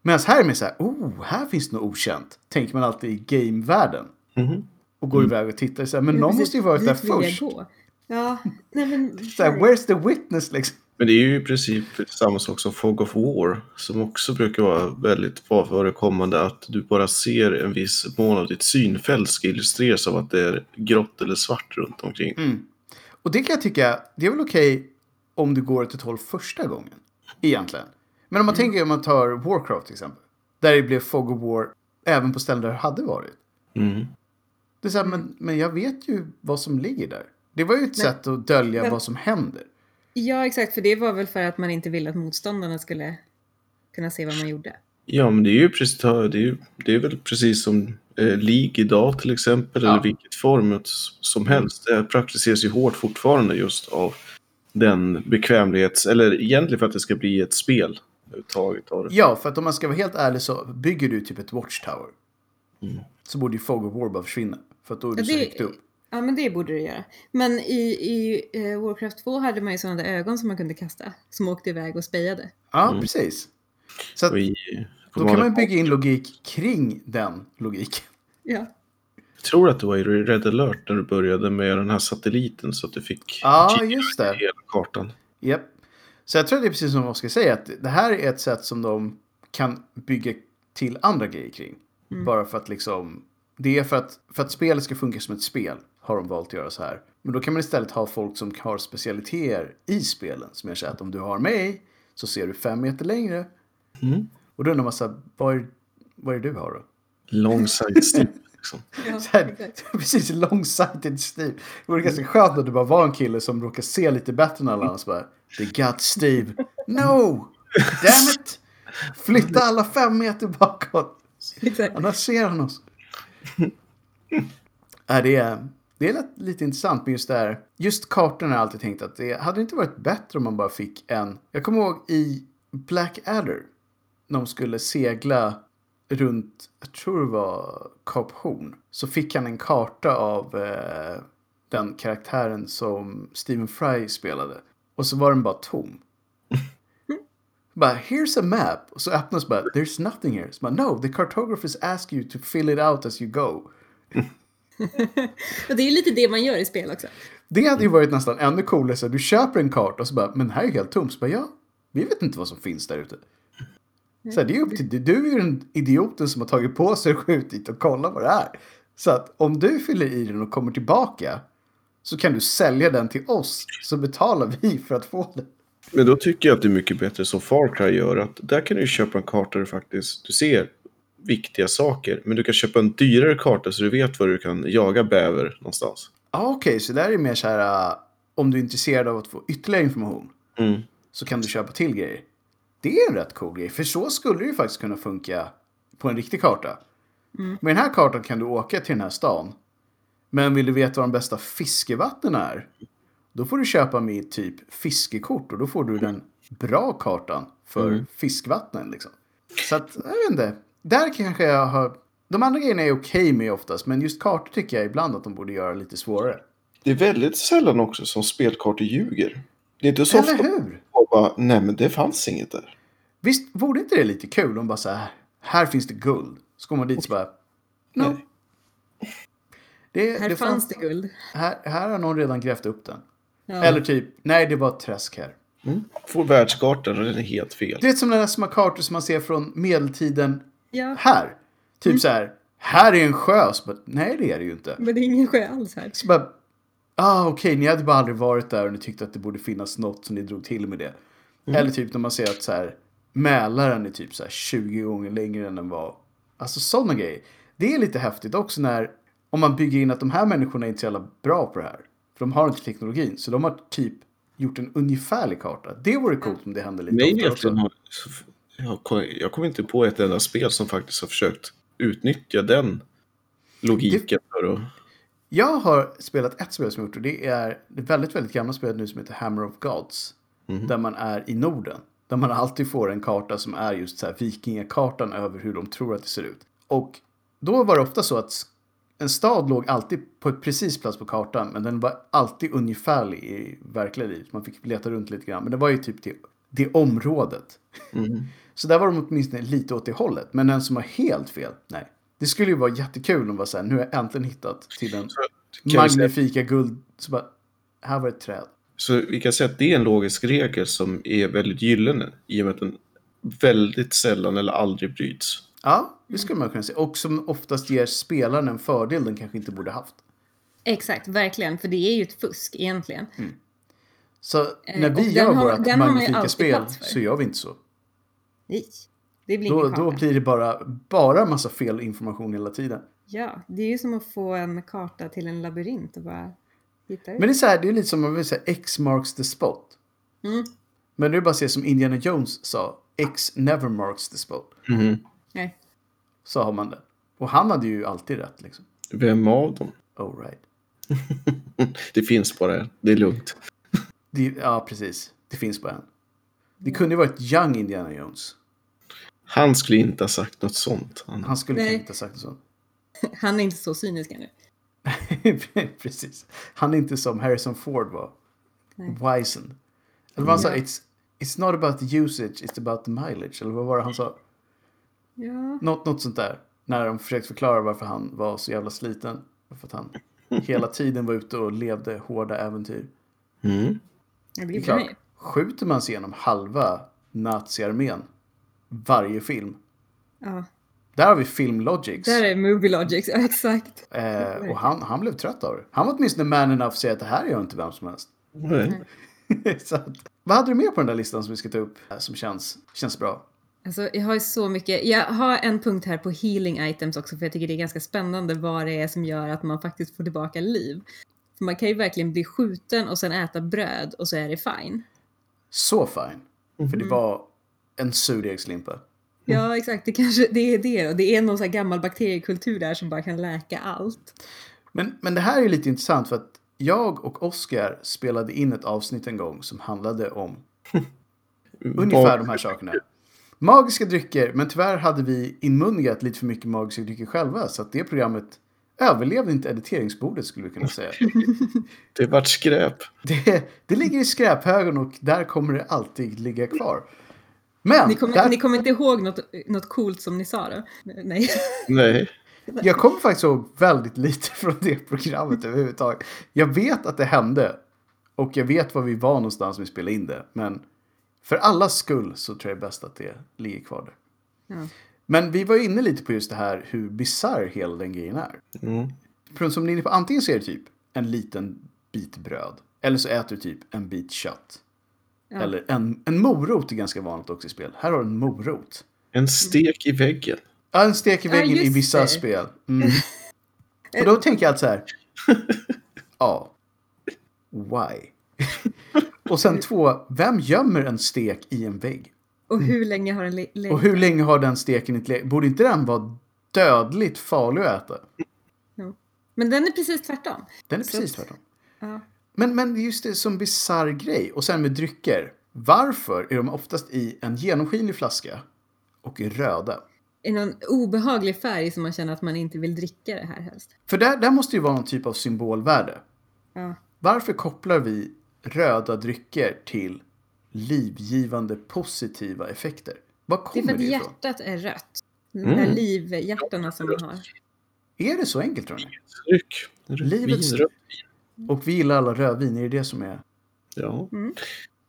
B: Medan här är man så här, oh, här finns något okänt. Tänker man alltid i gamevärlden.
A: Mhm.
B: Och går iväg och tittar så här, men
C: Ja,
B: någon
C: precis.
B: måste ju varit där
C: Dit vill jag
B: först.
C: gå. Ja, nej men...
B: Så här, where's the witness liksom?
A: Men det är ju i princip samma sak som Fog of War som också brukar vara väldigt förekommande att du bara ser en viss mån av ditt synfält ska illustreras av att det är grått eller svart runt omkring.
B: Mm. Och det kan jag tycka, det är väl okej om du går åt ett håll första gången. Egentligen. Men om man
A: Mm.
B: tänker om man tar Warcraft till exempel. Där det blev Fog of War även på ställen där det hade varit.
A: Mm.
B: Det är så här, men, men jag vet ju vad som ligger där. Det var ju ett
C: Men-
B: sätt att dölja
C: men-
B: vad som händer.
C: Ja, exakt. För det var väl för att man inte ville att motståndarna skulle kunna se vad man gjorde.
A: Ja, men det är ju precis, det är ju, det är väl precis som eh, League idag till exempel,
B: Ja.
A: eller vilket form s- som helst. Det praktiseras ju hårt fortfarande just av den bekvämlighets... Eller egentligen för att det ska bli ett spel. överhuvudtaget av det.
B: Ja, för att om man ska vara helt ärlig så bygger du typ ett Watchtower.
A: Mm.
B: Så borde ju Fog of War bara försvinna. För att då är du
C: Ja,
B: så
C: det-
B: högt upp.
C: Ja, men det borde det göra. Men i, i eh, Warcraft 2 hade man ju sådana där ögon som man kunde kasta, som åkte iväg och spejade.
B: Ja,
A: Mm.
B: precis. Så att,
A: Och i,
B: då kan man ju bygga in logik kring den logiken.
C: Ja.
A: Jag tror att det var i Red alert när du började med den här satelliten så att du fick
B: Ja,
A: kika
B: just det.
A: i hela kartan.
B: Japp. Så jag tror det är precis som Oskar säger, att det här är ett sätt som de kan bygga till andra grejer kring. Bara för att liksom, det är för att, för att spelet ska funka som ett spel har de valt att göra så här. Men då kan man istället ha folk som har specialiteter i spelen. Som jag säger att om du har mig så ser du fem meter längre.
A: Mm.
B: Och då undrar man så här, vad är, vad är det du har då?
A: Long sight
B: [LAUGHS]
A: steep. Liksom.
C: ja
B: Så här,
C: exakt.
B: precis, long-sighted Steve. Det vore ganska skönt om det bara var en kille som råkar se lite bättre än alla andra. så bara, The God Steve. No! Damn it! Flytta alla fem meter bakåt.
C: exakt.
B: Annars ser han oss. Ja, det, är, det är lätt- lite intressant med just det här. Just kartorna har jag alltid tänkt att det hade det inte varit bättre om man bara fick en. Jag kommer ihåg i Blackadder. När de skulle segla runt, jag tror det var Kap Horn. Så fick han en karta av eh, den karaktären som Stephen Fry spelade. Och så var den bara tom. Bara, here's a map. Och så öppnas bara, there's nothing here. Så bara, no, the cartographers ask you to fill it out as you go.
C: Och det är ju lite det man gör i spel också.
B: Det hade ju varit nästan ännu coolare, så här, du köper en karta och så bara, men här är helt tomt. Så bara, ja, vi vet inte vad som finns där ute. Så här, det är upp till dig. Du är ju den idioten som har tagit på sig att gå ut dit och kolla vad det är. Så att om du fyller i den och kommer tillbaka så kan du sälja den till oss så betalar vi för att få den.
A: Men då tycker jag att det är mycket bättre som Far Cry gör. Att där kan du ju köpa en karta där du faktiskt du ser viktiga saker. Men du kan köpa en dyrare karta så du vet var du kan jaga bäver någonstans.
B: Ah, Okej, så där är det mer så här, äh, om du är intresserad av att få ytterligare information.
A: Mm.
B: så kan du köpa till grejer. Det är en rätt cool grej, för så skulle det ju faktiskt kunna funka på en riktig karta. Med den här kartan kan du åka till den här stan. Men vill du veta var de bästa fiskevattnen är, då får du köpa med typ fiskekort och då får du den bra kartan för fiskvattnen. Liksom. Så att, jag vet inte. Där kanske jag har... De andra grejerna är okej med oftast, men just kartor tycker jag ibland att de borde göra lite svårare.
A: Det är väldigt sällan också som spelkartor ljuger. Det är inte så
B: Eller
A: ofta
B: hur?
A: man bara, nej men det fanns inget där.
B: Visst vore inte det lite kul om bara så här, här finns det guld. Så går man dit så bara, no.
A: Nej.
B: Det,
C: Här
B: det
C: fanns det guld.
B: Här, här har någon redan grävt upp den.
C: Ja.
B: Eller typ, nej det var ett träsk här.
A: Mm. Får världskartan och den är helt fel.
B: Det är som den där små kartor som man ser från medeltiden
C: ja,
B: här. Typ
A: Mm.
B: så här, här är en sjö. Så bara, nej det är det ju inte.
C: men det är ingen sjö alls här.
B: Så bara, ah okej, ni hade bara aldrig varit där och ni tyckte att det borde finnas något så ni drog till med det. Eller typ när man ser att så här, Mälaren är typ så här 20 gånger längre än den var. Alltså sådana grejer. Det är lite häftigt också när, om man bygger in att de här människorna är inte så jävla bra på det här. För de har inte teknologin, så de har typ gjort en ungefärlig karta. Det vore coolt om det hände lite
A: Mig
B: oftare också.
A: veterligen har- så- jag kom- jag kommer inte på ett enda spel som faktiskt har försökt utnyttja den logiken. För att,
B: Jag har spelat ett spel som jag gjort och det är det väldigt, väldigt gamla spelet nu som heter Hammer of Gods. Där man är i Norden. Där man alltid får en karta som är just så här vikingakartan över hur de tror att det ser ut. Och då var det ofta så att en stad låg alltid på ett precis plats på kartan men den var alltid ungefärlig i verkliga livet. Man fick leta runt lite grann men det var ju typ det, det området. [LAUGHS] Så där var de åtminstone lite åt det hållet. Men den som har helt fel, nej. Det skulle ju vara jättekul om det var så här, nu har jag äntligen hittat till den
A: Kan vi
B: magnifika guld. Så bara, här var ett träd.
A: Så vi kan säga att det är en logisk regel som är väldigt gyllene i och med att den väldigt sällan eller aldrig bryts.
B: Ja, det skulle man kunna säga. Och som oftast ger spelaren en fördel den kanske inte borde haft.
C: Exakt, verkligen. För det är ju ett fusk egentligen. Mm.
B: Så när
C: Eh, och
B: vi
C: den
B: gör
C: har-
B: våra
C: den har man ju
B: magnifika
C: alltid
B: spel
C: plats för.
B: så gör vi inte så.
C: Nej, det blir
B: Då,
C: ingen karta.
B: då blir det bara, bara massa fel information hela tiden.
C: Ja, det är ju som att få en karta till en labyrint och bara hitta ut.
B: Men det är, så här, det är lite som om vi säger X marks the spot.
C: Mm.
B: Men det är bara att se som Indiana Jones sa, X never marks the spot.
C: Nej. [LAUGHS]
B: Så har man det. Och han hade ju alltid rätt liksom.
A: Vem av dem? [LAUGHS]
B: Oh right.
A: Det finns bara en. Det är lugnt.
B: Det, ja, precis. Det finns bara en. Det kunde ju varit Young Indiana Jones.
A: Han skulle inte ha sagt något sånt. Han,
B: Han skulle
C: Nej.
B: kanske inte ha sagt något sånt.
C: Han är inte så cynisk ännu.
B: [LAUGHS] Precis. Han är inte som Harrison Ford var.
C: Nej.
B: Wisen. Eller vad han sa,
C: Ja.
B: it's, it's not about the usage, it's about the mileage. Eller vad var det han sa?
C: Ja.
B: Något, något sånt där. När de försökte förklara varför han var så jävla sliten. För att han hela tiden var ute och levde hårda äventyr.
A: mm.
C: Det
B: Det är
C: blir för
B: klart,
C: mig.
B: skjuter man sig igenom halva naziarmén varje film.
C: Ja.
B: Där har vi filmlogics.
C: Där är movie logics, [LAUGHS] ja exakt.
B: Eh, och han, han blev trött av det. Han var åtminstone man enough att säga att det här gör inte vem som helst. [LAUGHS]
A: Nej.
B: så att, vad hade du mer på den där listan som vi ska ta upp eh, som känns, känns bra?
C: Alltså, jag har ju så mycket. Jag har en punkt här på healing items också för jag tycker det är ganska spännande vad det är som gör att man faktiskt får tillbaka liv. För man kan ju verkligen bli skjuten och sen äta bröd och så är det
B: Mm.
C: fine.
B: Så fine. För det var en surdegslimpa.
C: Ja exakt, det kanske det är det då. Det är någon sån här gammal bakteriekultur där som bara kan läka allt.
B: Men, men det här är lite intressant för att jag och Oscar spelade in ett avsnitt en gång som handlade om ungefär de här sakerna. Magiska drycker, men tyvärr hade vi inmundigat lite för mycket magiska drycker själva så att det programmet överlevde inte editeringsbordet skulle vi kunna säga.
A: Det vart skräp.
B: Det, det ligger i skräphögen och där kommer det alltid ligga kvar. Men
C: Ni kommer,
B: där,
C: ni kommer inte ihåg något, något coolt som ni sa då? Nej. [LAUGHS]
A: Nej.
B: jag kommer faktiskt ihåg väldigt lite [LAUGHS] från det programmet överhuvudtaget. Jag vet att det hände och jag vet var vi var någonstans när vi spelade in det. Men för allas skull så tror jag det är bäst att det ligger kvar där.
C: Ja.
B: Men vi var ju inne lite på just det här hur bisarr hela den grejen är.
A: Mm.
B: För Som ni är inne på, antingen så är det typ en liten bit bröd. Eller så äter du typ en bit kött. Eller en, en morot är ganska vanligt också i spel. Här har du en morot.
A: En stek i väggen.
B: Ja, en stek i
C: Ja,
B: väggen i
C: just
B: vissa
C: det.
B: spel. Mm. Och då tänker jag att så
C: [LAUGHS]
B: här. Ja. Why? [LAUGHS] Och sen två, vem gömmer en stek i en vägg?
C: Och hur länge har den le- legat?
B: Och hur länge har den steken inte legat? Borde inte den vara dödligt farlig att äta?
C: Ja. Men den är precis tvärtom.
B: Den är
C: Så
B: precis
C: att-
B: tvärtom.
C: Ja.
B: Men, men just det, som bisarr grej. Och sen med drycker. Varför är de oftast i en genomskinlig flaska och är röda?
C: I någon obehaglig färg som man känner att man inte vill dricka det här helst.
B: För där, där måste det ju vara någon typ av symbolvärde.
C: Ja.
B: Varför kopplar vi röda drycker till livgivande positiva effekter? Vad
C: Det är för
B: kommer
C: att
B: det ifrån? Mm.
C: hjärtat är rött. De där livhjärtarna som man har.
B: Är det så enkelt tror ni?
A: Tryck.
B: Livets-
A: Vinrött.
C: Mm.
B: Och vi gillar alla rödvin, är det det som är?
A: Ja.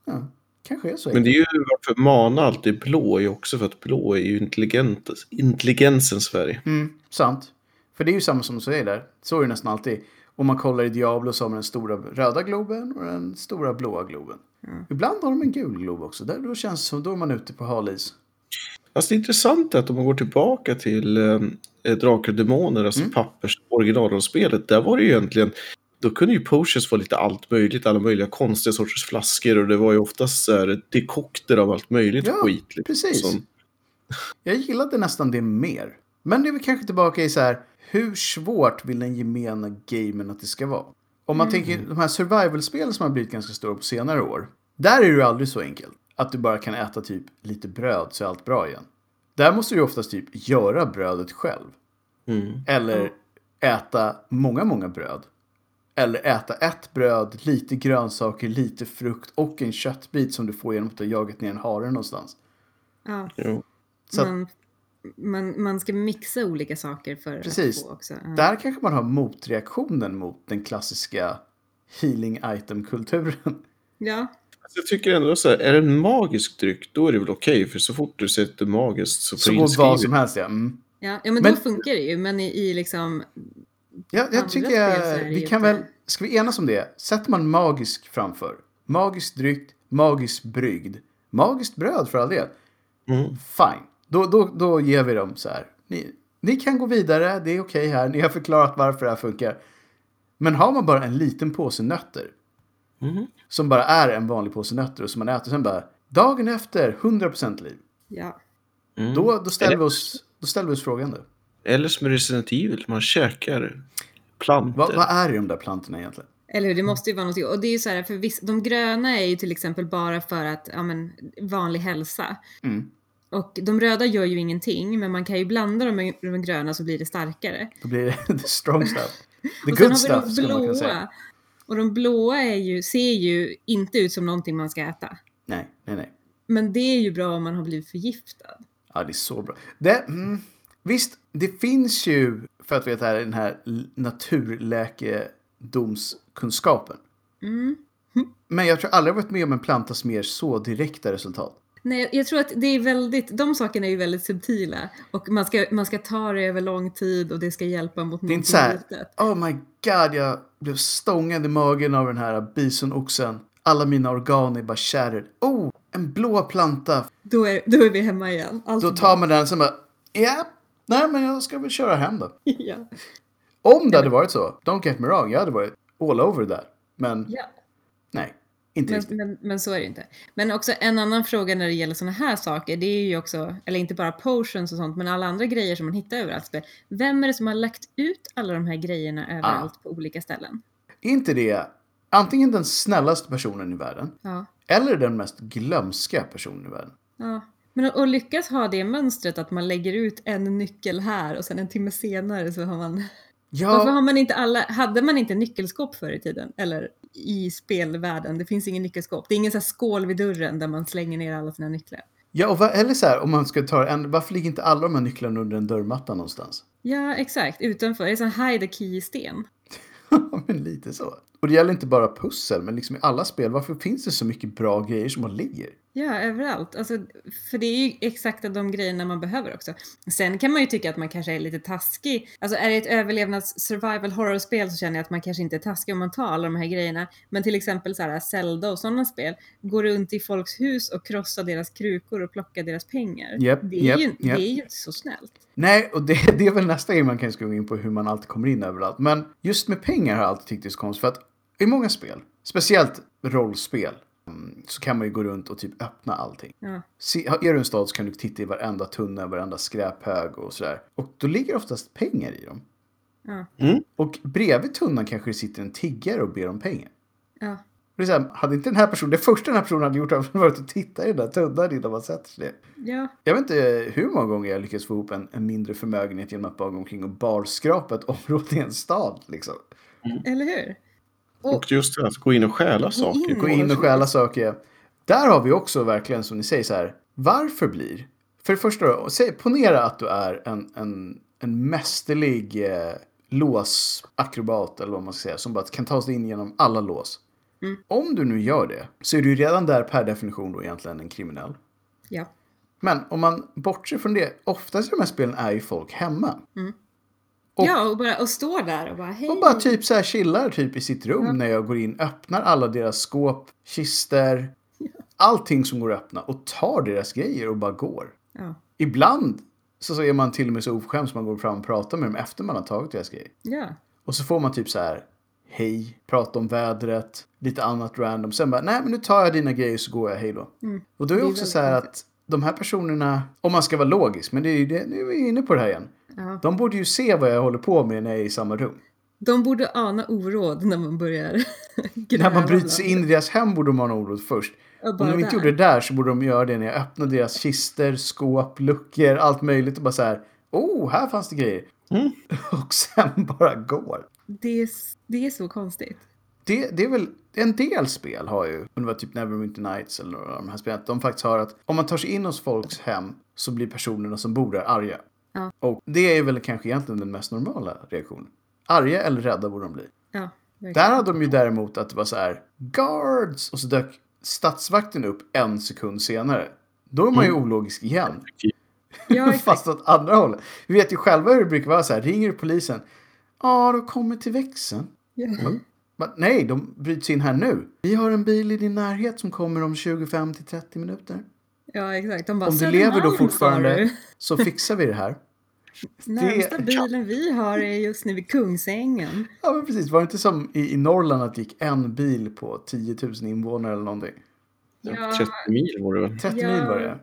B: Ja, kanske är så
A: Men
B: enkelt.
A: det är ju varför mana alltid blå är ju också för att blå är ju intelligent, intelligensens färg.
B: Mm, sant. För det är ju samma som du säger där. Så är det nästan alltid. Om man kollar i Diablo så har man den stora röda globen och den stora blåa globen.
C: Mm.
B: Ibland har de en gul glob också. Där, då känns det som då är man ute på halis.
A: Alltså det intressanta är att om man går tillbaka till eh, Drakar och Demoner, alltså
B: Mm.
A: pappers originalrollspelet, där var det ju egentligen, då kunde ju potions vara lite allt möjligt, alla möjliga konstiga sorters flaskor och det var ju oftast så här, dekokter av allt möjligt
B: Ja,
A: skit. liksom,
B: precis.
A: som-
B: [LAUGHS] Jag gillade nästan det mer. Men det är väl kanske tillbaka i så här, hur svårt vill den gemena gamen att det ska vara? Om man
A: Mm.
B: tänker de här survival-spelen som har blivit ganska stora på senare år. Där är det ju aldrig så enkelt. Att du bara kan äta typ lite bröd så är allt bra igen. Där måste du ju oftast typ göra brödet själv.
A: Mm.
B: Eller äta många, många bröd. Eller äta ett bröd, lite grönsaker, lite frukt och en köttbit som du får genom att ha jagat ner en hare någonstans.
C: Ja.
A: Jo.
B: Så att-
C: Man, man, man ska mixa olika saker för
B: Precis.
C: att få också. Ja.
B: Där kanske man har motreaktionen mot den klassiska healing item-kulturen.
C: Ja.
A: Alltså, Jag tycker ändå så här, är det en magisk dryck, då är det väl okej, för så fort du sätter magiskt så
B: Så
A: får du
B: vad som
A: inskrivet.
B: helst ja. Mm.
C: Ja, ja men,
B: Men-
C: då funkar det ju. Men i, i liksom...
B: Ja,
C: Andra
B: jag tycker
C: spel så är
B: jag,
C: det
B: vi
C: ju
B: kan
C: inte-
B: väl, ska vi enas om det? Sätter man magisk framför, magisk dryck, magisk brygd, magiskt bröd för all del,
A: Mm.
B: fine. Då, då, då ger vi dem så här, ni, ni kan gå vidare, det är okej här, ni har förklarat varför det här funkar. Men har man bara en liten påse nötter,
A: Mhm.
B: som bara är en vanlig påse nötter och som man äter, sen bara, dagen efter, 100% liv.
C: Ja.
A: Mm.
B: Då, då, ställer vi oss, då ställer vi oss frågan då.
A: Eller som i Resident Evil, man käkar
B: Vad,
A: plantor.
B: vad är i de där plantorna egentligen?
C: Eller
B: Mm.
C: hur, det måste ju vara något. Och det är ju så här, för viss, de gröna är ju till exempel bara för att, ja men, vanlig hälsa.
B: Mm.
C: Och de röda gör ju ingenting, men man kan ju blanda dem med de gröna så blir det starkare.
B: Då blir det [LAUGHS] the strong
C: [LAUGHS]
B: stuff. The
C: och sen
B: good
C: har
B: stuff,
C: vi de
B: skulle man kunna säga.
C: blåa. Och de blåa är ju, ser ju inte ut som någonting man ska äta.
B: Nej, nej, nej.
C: Men det är ju bra om man har blivit förgiftad.
B: Ja, det är så bra. Det, mm, visst, det finns ju, för att veta här, den här l- naturläkedomskunskapen.
C: Mm.
B: Men jag tror aldrig jag varit med om en planta som ger så direkta resultat.
C: Nej, jag tror att det är väldigt, de sakerna är ju väldigt subtila. Och man ska, man ska ta det över lång tid och det ska hjälpa mot
B: Det är inte
C: någonting
B: så här,
C: litet.
B: oh my god, jag blev stångad i magen av den här bisonoxen. Alla mina organ är bara shattered. Oh, en blå planta.
C: Då är, då är vi hemma igen. Allt
B: Då
C: är
B: tar
C: bra.
B: man den sen bara, ja, nej men jag ska väl köra hem då.
C: [LAUGHS] ja.
B: Om det hade varit så, don't get me wrong, jag hade varit all over där. Men
C: Ja.
B: nej, inte
C: Men,
B: riktigt.
C: men, men så är det inte. Men också en annan fråga när det gäller sådana här saker, det är ju också, eller inte bara potions och sånt, men alla andra grejer som man hittar överallt. Vem är det som har lagt ut alla de här
B: Ah.
C: grejerna överallt på olika ställen?
B: Är inte det antingen den snällaste personen i världen
C: Ja.
B: eller den mest glömska personen i världen?
C: ja. Men att- att lyckas ha det mönstret att man lägger ut en nyckel här och sen en timme senare så har man... Varför har
B: Ja,
C: man inte alla... Hade man inte nyckelskåp förr i tiden? Eller i spelvärlden, det finns ingen nyckelskåp. Det är ingen så här skål vid dörren där man slänger ner alla sina nycklar.
B: ja och va, eller så här, om man ska ta en, varför ligger inte alla de här nycklarna under en dörrmatta någonstans? [LAUGHS]
C: Ja, exakt. Utanför. Det är sån hide the key-sten.
B: Ja, men lite så. Och det gäller inte bara pussel, men liksom i alla spel, varför finns det så mycket bra grejer som man ligger?
C: Ja, överallt. Alltså, för det är ju exakt de grejerna man behöver också. Sen kan man ju tycka att man kanske är lite taskig. Alltså är det ett överlevnads survival horror-spel så känner jag att man kanske inte är taskig om man tar alla de här grejerna. Men till exempel så här Zelda och sådana spel, går runt i folks hus och krossar deras krukor och plockar deras pengar.
B: Japp,
C: det, är
B: japp,
C: ju,
B: japp.
C: det är ju inte så snällt.
B: Nej, och det, [LAUGHS] det är väl nästa grej man kanske ska gå in på hur man alltid kommer in överallt. Men just med pengar har jag alltid tyckt det är så konstigt. För att i många spel, speciellt rollspel, mm, så kan man ju gå runt och typ öppna allting.
C: Ja.
B: Se, har- är du en stad så kan du titta i varenda tunna, varenda skräphög och sådär. Och då ligger oftast pengar i dem.
C: Ja.
B: Och bredvid tunnan kanske det sitter en tiggare och ber om pengar.
C: Ja.
B: Och Det är så här, hade inte den här personen, det första den här personen hade gjort hade varit att titta i den där tunnan innan man sätter sig ner.
C: ja.
B: Jag vet inte eh, hur många gånger jag lyckats få ihop en, en mindre förmögenhet genom att bara gå omkring och barskrapa ett [LAUGHS] område i en stad. Liksom.
C: Eller hur?
A: Och just det här, att gå in och stjäla saker.
C: in.
B: Gå in och stjäla saker. Där har vi också verkligen som ni säger så här. Varför blir? För det första då, säg, ponera att du är en, en, en mästerlig eh, låsakrobat eller vad man ska säga som bara kan ta sig in genom alla lås.
C: Mm.
B: Om du nu gör det så är du ju redan där per definition då egentligen en kriminell.
C: Ja.
B: Men om man bortser från det, oftast i de här spelen är ju folk hemma. Och-
C: ja, och bara och stå där och bara hej.
B: Och bara typ så här chillar typ i sitt rum när jag går in, öppnar alla deras skåp, kister, allting som går att öppna och tar deras grejer och bara går.
C: Ja.
B: Ibland så, så är man till och med så oförskämd som man går fram och pratar med dem efter man har tagit deras grejer.
C: ja.
B: Och så får man typ så här, hej, prata om vädret, lite annat random. Sen bara, nej men nu tar jag dina grejer så går jag, hej då. Och då är
C: Mm. Det
B: det
C: är
B: också
C: väldigt
B: så här att de här personerna, om man ska vara logisk, men det är ju det, nu är vi inne på det här igen.
C: ja.
B: De borde ju se vad jag håller på med när jag är i samma rum.
C: De borde ana oråd när man börjar gräva
B: När man bryter
C: bland
B: sig in i deras hem borde de ha en orolig först.
C: Och
B: Om
C: Eh, bara
B: de inte
C: där.
B: gjorde det där så borde de göra det när jag öppnar deras kister, skåp, luckor, allt möjligt och bara så här. Oh, här fanns det grejer.
A: Mm.
B: [LAUGHS] Och sen bara går.
C: Det är, s- det är så konstigt.
B: Det, det är väl en del spel har ju, om det var typ Neverwinter Nights eller några av de här spelen, att de faktiskt har att om man tar sig in hos folks hem så blir personerna som bor där arga.
C: Ja.
B: Och det är väl kanske egentligen den mest normala reaktionen. Arga eller rädda borde de bli.
C: Ja,
B: Där hade de ju däremot att det var så här guards och så dök statsvakten upp en sekund senare. Då är man ju ologisk igen.
C: Mm. Ja, exakt.
B: Fast åt andra hållet. Vi vet ju själva hur det brukar vara så här. Ringer du polisen? Ja, de kommer till växeln.
C: Ja.
B: Men nej, de bryts in här nu. Vi har en bil i din närhet som kommer om 25 till 30 minuter.
C: Ja, exakt. De bara,
B: Om du
C: "Södermalm,
B: lever då
C: sa
B: fortfarande [LAUGHS]
C: du."
B: så fixar vi det här. [LAUGHS]
C: Närmsta bilen vi har är just nu vid Kungsängen.
B: Ja, men precis. Var det inte som i, i Norrland att det gick en bil på 10 000 invånare eller någonting?
C: Ja,
A: 30 mil var det väl?
B: 30
C: Ja.
B: mil var det.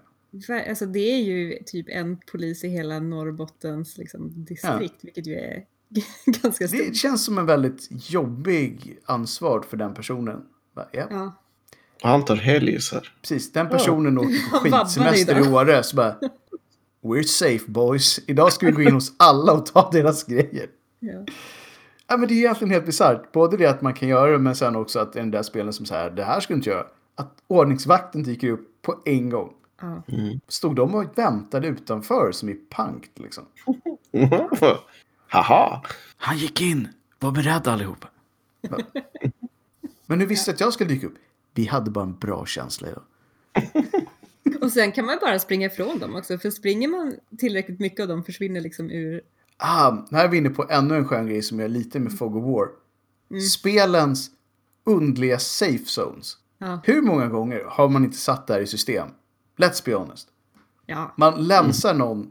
C: ver- alltså det är ju typ en polis i hela Norrbottens liksom, distrikt, vilket ju är [LAUGHS] ganska stort.
B: Det känns som en väldigt jobbig ansvar för den personen. Va, Ja,
C: Ja.
A: Han tar helg så här.
B: precis. Den personen åker på
C: Han vabbade
B: skitsemester i
C: idag.
B: Åre så bara We're safe boys. Idag ska vi gå in hos alla och ta deras grejer.
C: Ja.
B: Ja, men det är egentligen helt bisarrt. Både det att man kan göra det, men sen också att den där spelen som så här, det här ska du inte göra. Att ordningsvakten dyker upp på en gång.
C: Ja.
B: Stod de och väntade utanför som i pankt liksom?
A: Haha!
B: Han gick in. Var beredd allihopa. Va? [LAUGHS] Men hur visste du att jag skulle dyka upp? Vi hade bara en bra känsla idag.
C: Och sen kan man ju bara springa ifrån dem också, för springer man tillräckligt mycket av dem försvinner liksom ur...
B: Ah, här är vi inne på ännu en skön grej som jag är lite med Fog of War. Spelens undliga safe zones.
C: Ja.
B: Hur många gånger har man inte satt det här i system? Let's be honest.
C: Ja.
B: Man länsar någon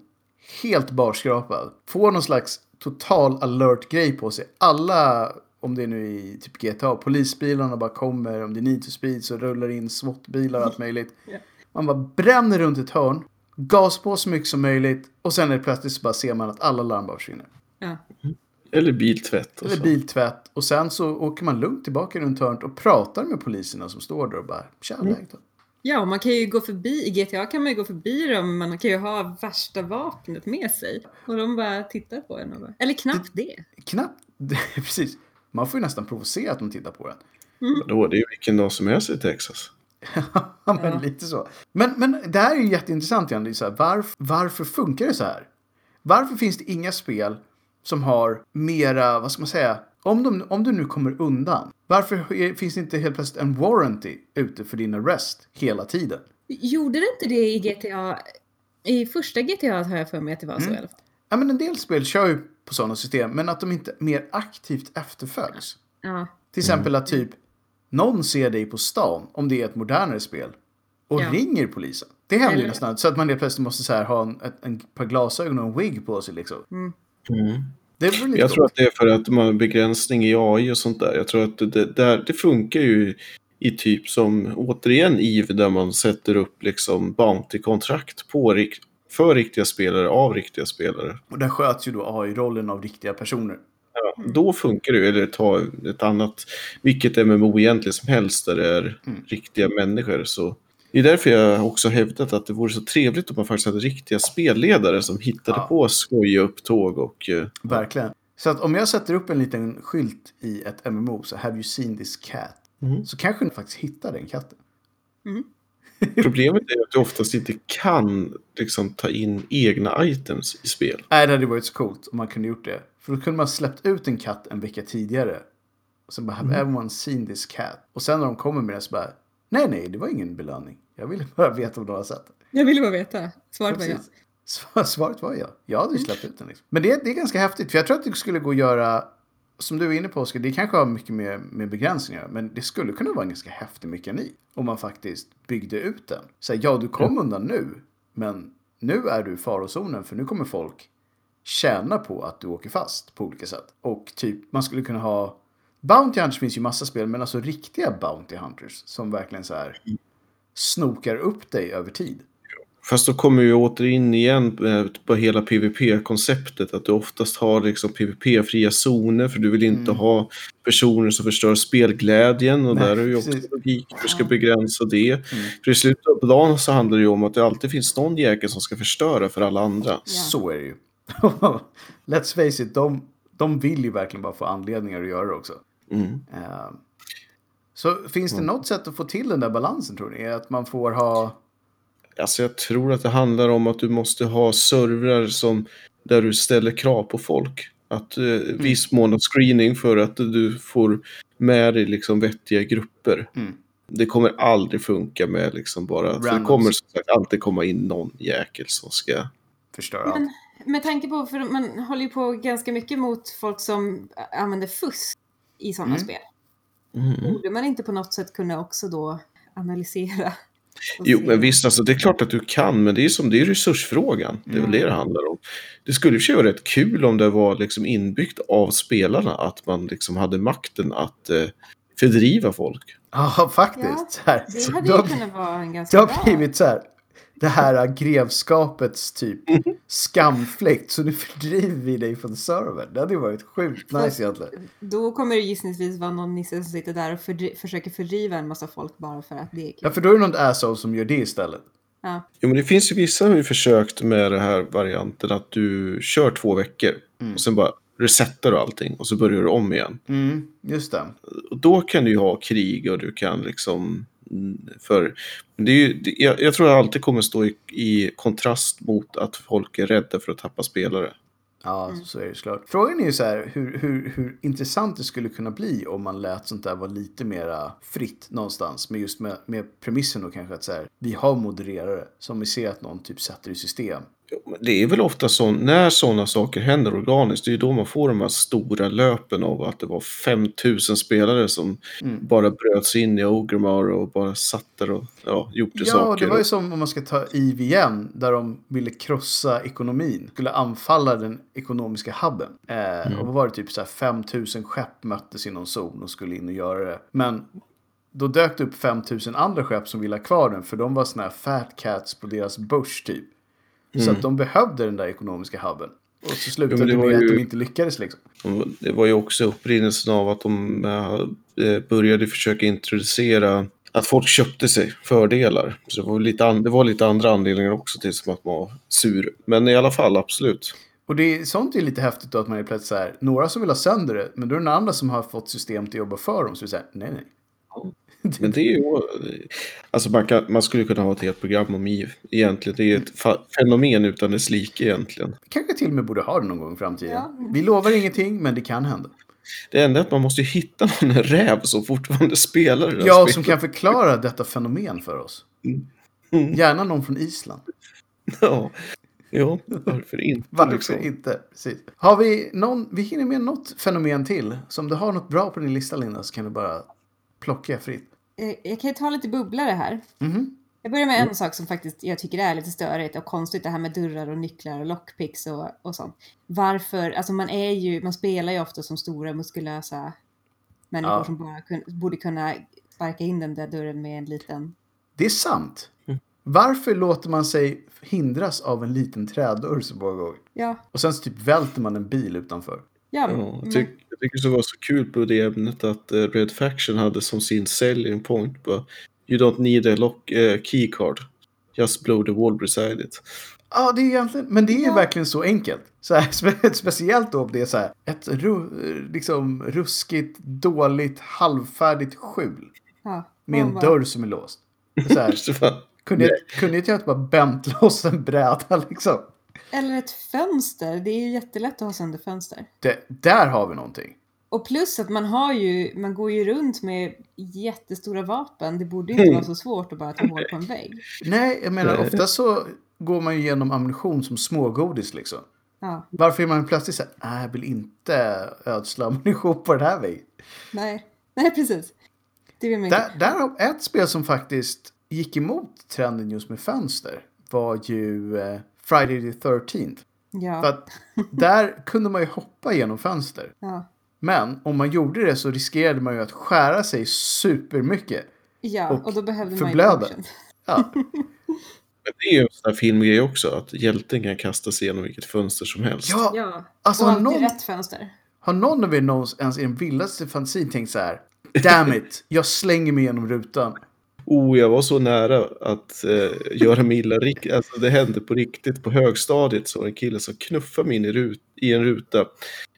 B: helt barskrapad. Får någon slags total alert-grej på sig. Alla, om det är nu i typ GTA, polisbilarna bara kommer. Om det är Need for Speed så rullar in SWAT-bilar och allt möjligt. Man bara bränner runt ett hörn. Gas på så mycket som möjligt. Och sen är det plötsligt så bara ser man att alla larm bara försvinner.
C: ja.
A: Eller biltvätt. Och
B: Eller
A: så.
B: biltvätt. Och sen så åker man lugnt tillbaka runt hörnet och pratar med poliserna som står där och bara Tja, läget då?
C: Ja, och man kan ju gå förbi, i GTA kan man ju gå förbi dem, man kan ju ha värsta vapnet med sig. Och de bara tittar på en och bara, eller knappt det.
B: Knappt. [LAUGHS] Precis. Man får ju nästan provocera att de tittar på en.
A: Då, det är ju vilken dag som helst i Texas.
B: [LAUGHS] Ja, men lite så. Men, men det här är ju jätteintressant igen. Det är så här, varf, varför funkar det så här? Varför finns det inga spel som har mera, vad ska man säga, om, de, om du nu kommer undan, varför är- finns det inte helt plötsligt en warranty ute för din arrest hela tiden?
C: Gjorde det inte det i GTA? I första GTA har jag för mig att det var så i alla fall.
B: Ja, men en del spel kör ju på sådana system, men att de inte mer aktivt efterföljs.
C: Ja,
B: Till
A: Mm.
B: exempel att typ någon ser dig på stan, om det är ett modernare spel, och
C: Ja.
B: ringer polisen. Det händer ju
C: Eller-
B: nästan. Så att man helt plötsligt måste så här, ha en, ett, en par glasögon och en wig på sig liksom.
C: Mm.
B: Det vore lite
A: Mm. Jag tror
B: coolt.
A: att det är för att de har en begränsning i AI och sånt där. Jag tror att det, det, där, det funkar ju i typ som, återigen, IV där man sätter upp liksom bounty-kontrakt på rik- för riktiga spelare, av riktiga spelare.
B: Och där sköts ju då AI-rollen av riktiga personer.
A: Ja, Mm. Då funkar det ju, eller ta ett annat, vilket MMO egentligen som helst där det är riktiga människor. Så det är därför jag också hävdat att det vore så trevligt om man faktiskt hade riktiga spelledare som hittade
B: Ja.
A: på skojiga upptåg och... eh,
B: Verkligen. Så att om jag sätter upp en liten skylt i ett MMO, så have you seen this cat?
A: Mm.
B: Så kanske ni faktiskt hittar den katten.
A: Problemet är att du oftast inte kan liksom, ta in egna items i spel.
B: Nej, det hade varit så coolt om man kunde gjort det. För då kunde man släppt ut en katt en vecka tidigare. Och sen bara, have everyone seen this cat? Och sen när de kommer med det så bara, nej, nej, det var ingen belöning. Jag ville bara veta om de har sett den.
C: jag ville bara veta. Svaret var ja. Mm.
B: Precis. Svar- Svaret var ja. Jag hade ju släppt ut den. Liksom. Men det, det är ganska häftigt, för jag tror att det skulle gå att göra, som du är inne på Oskar, det kanske har mycket med, med begränsningar, men det skulle kunna vara en ganska häftig mekanik om man faktiskt byggde ut den. Så här, ja, du kom undan nu, men nu är du i farozonen, för nu kommer folk tjäna på att du åker fast på olika sätt. Och typ, man skulle kunna ha Bounty Hunters finns ju massa spel, men alltså riktiga Bounty Hunters som verkligen så här
C: Mm.
B: snokar upp dig över tid.
A: Fast då kommer vi åter in igen eh, på hela PVP-konceptet. Att du oftast har liksom PVP-fria zoner för du vill inte ha personer som förstör spelglädjen. Och
B: Mm. Nej,
A: där är ju också
B: precis. Mm.
A: logik hur du ska begränsa det. För i slutet av dagen så handlar det ju om att det alltid finns någon jäkel som ska förstöra för alla andra.
B: Så är det ju. [LAUGHS] Let's face it, de, de vill ju verkligen bara få anledningar att göra det också. Eh, Så finns det något sätt att få till den där balansen tror ni? Är att man får ha...
A: Alltså jag tror att det handlar om att du måste ha servrar som, där du ställer krav på folk. Att eh,
B: Mm.
A: viss mån av screening för att du får med dig liksom vettiga grupper.
B: Mm.
A: Det kommer aldrig funka med liksom bara, för det
B: Randoms.
A: kommer som sagt alltid komma in någon jäkel som ska
B: Förstöra allt.
C: Men- Med tanke på, för man håller ju på ganska mycket mot folk som ä, använder fusk i sådana
B: Mm.
C: spel. Borde man inte på något sätt kunna också då analysera? och
A: Jo,
C: se-
A: men visst, alltså, det är klart att du kan, men det är ju som, det är ju resursfrågan. Det är väl det
B: Mm.
A: det handlar om. Det skulle i och för sig vara rätt kul om det var liksom inbyggt av spelarna, att man liksom hade makten att eh, fördriva folk.
B: [LAUGHS] Ja, faktiskt. Ja,
C: Det hade
B: det,
C: ju
B: har,
C: kunnat vara en
B: det
C: ganska
B: har
C: bra...
B: blivit så här. Det här äh, grevskapets typ skamfläkt. Så nu fördriver vi dig från servern. Det hade ju varit sjukt nice egentligen.
C: Då kommer det gissningsvis vara någon nisse som sitter där och fördri- försöker fördriva en massa folk bara för att det är
B: Ja,
C: kul.
B: för då är det någon asshole som gör det istället.
C: Ja.
A: Jo, men det finns ju vissa har ju försökt med den här varianten att du kör två veckor och sen bara resetar du allting och så börjar du om igen.
B: Mm, just det.
A: Och då kan du ju ha krig och du kan liksom... mm, För men det är ju, det- jag, jag tror det alltid kommer stå i, i kontrast mot att folk är rädda för att tappa spelare.
B: Ja, så är det såklart. Frågan är ju så här hur, hur, hur intressant det skulle kunna bli om man lät sånt där vara lite mera fritt någonstans. Men just med, med premissen då kanske att så här, vi har modererare som vi ser att någon typ sätter i system.
A: Jo, men Det är väl ofta så när sådana saker händer organiskt, det är ju då man får de här stora löpen av att det var 5000 spelare som
B: Mm.
A: bara bröt sig in i Ogremar och bara satt där och ja, gjorde
B: Ja,
A: saker.
B: det var ju som om man ska ta IVM där de ville krossa ekonomin. Skulle anfalla den ekonomiska hubben. Eh,
A: Mm.
B: Och då var det typ så här 5000 skepp möttes i någon zon och skulle in och göra det. Men då dök det upp 5000 andra skepp som ville ha kvar den för de var såna här fat cats på deras börs typ. Så att de behövde den där ekonomiska hubben. Och så slutade
A: Mm. men det
B: det
A: var
B: med att
A: ju-
B: de inte lyckades liksom.
A: Det var ju också upprinnelsen av att de eh, började försöka introducera att folk köpte sig fördelar. Så det var lite, an- det var lite andra anledningar också till som att man var sur. Men i alla fall, absolut.
B: Och det är, sånt är lite häftigt då att man är plötsligt så här, några som vill ha sönder det, men då är det några andra som har fått systemet att jobba för dem. Så det är så här, nej nej.
A: Men det är ju... Alltså man, kan, man skulle kunna ha ett helt program om IF egentligen. Det är ett fa- fenomen utan dess like egentligen.
B: kanske till och med borde ha det någon gång i framtiden.
C: Ja.
B: Vi lovar ingenting, men det kan hända.
A: Det enda är att man måste ju hitta någon räv som fortfarande spelar i det här
B: Ja,
A: spelet.
B: som kan förklara detta fenomen för oss. Gärna någon från Island.
A: Ja. Ja, varför inte?
B: Varför
A: liksom?
B: inte? Precis. Har vi någon, vi hinner med något fenomen till. Så om du har något bra på din lista, Linda, så kan du bara plocka fritt.
C: Eh, Jag kan ju ta lite bubblare här.
B: Mhm.
C: Jag börjar med en sak som faktiskt jag tycker är lite störigt och konstigt, det här med dörrar och nycklar och lockpicks och, och sånt. Varför, alltså man är ju, man spelar ju ofta som stora muskulösa människor
B: Ja.
C: som bara kun, borde kunna sparka in den där dörren med en liten...
B: Det är sant. Varför låter man sig hindras av en liten trädörr så många gånger?
C: Ja,
B: Och sen så typ välter man en bil utanför.
C: ja.
A: Ja,
B: typ
C: men-
A: jag, tyck, jag tycker det var så kul på det ämnet att eh, Red Faction hade som sin selling point på You don't need a lock, eh, keycard. Just blow the wall beside it. [LAUGHS]
B: Ja, det är egentligen, men det är
C: Ja.
B: verkligen så enkelt. Så här, [LAUGHS] spe, speciellt då om det är så här, ett ru, liksom ruskigt, dåligt, halvfärdigt skjul
C: ja.
B: med en
C: Man bara-
B: dörr som är låst. Så
C: [LAUGHS]
B: här,
A: Så fan,
B: kunde, jag, kunde inte jag inte bara bänt [LAUGHS] loss en bräda liksom?
C: Eller ett fönster, det är ju jättelätt att ha sönder fönster.
B: Det, där har vi någonting.
C: Och plus att man har ju, man går ju runt med jättestora vapen, det borde ju inte vara så svårt att bara ta hål på en vägg.
B: [LAUGHS] Nej, jag menar ofta så går man ju igenom ammunition som smågodis liksom.
C: Ja,
B: Varför är man plötsligt så här, "Nej, jag vill inte ödsla ammunition på den här vägen?
C: nej, nej precis. Det vill man inte.
B: Där, där har- ett spel som faktiskt gick emot trenden just med fönster var ju eh, Friday the 13th.
C: Ja.
B: För att där kunde man ju hoppa genom fönster.
C: Ja.
B: Men om man gjorde det så riskerade man ju att skära sig supermycket.
C: Ja,
B: och
C: och, då behövde
B: förblöda.
C: man ju potion. [LAUGHS]
B: Ja,
A: men det är ju en sån här filmgrej också, att hjälten kan kasta sig genom vilket fönster som helst.
B: ja
C: Ja,
B: alltså
C: och
B: har
C: alltid
B: någon,
C: rätt fönster.
B: har någon av er någons, ens i den vildaste fantasin tänkt så här. Damn it, jag slänger mig genom rutan.
A: Oh, jag var så nära att eh, göra mig illa. rikt- [LAUGHS] Alltså, det hände på riktigt. På högstadiet så var det en kille som knuffade mig in i, rut- i en ruta.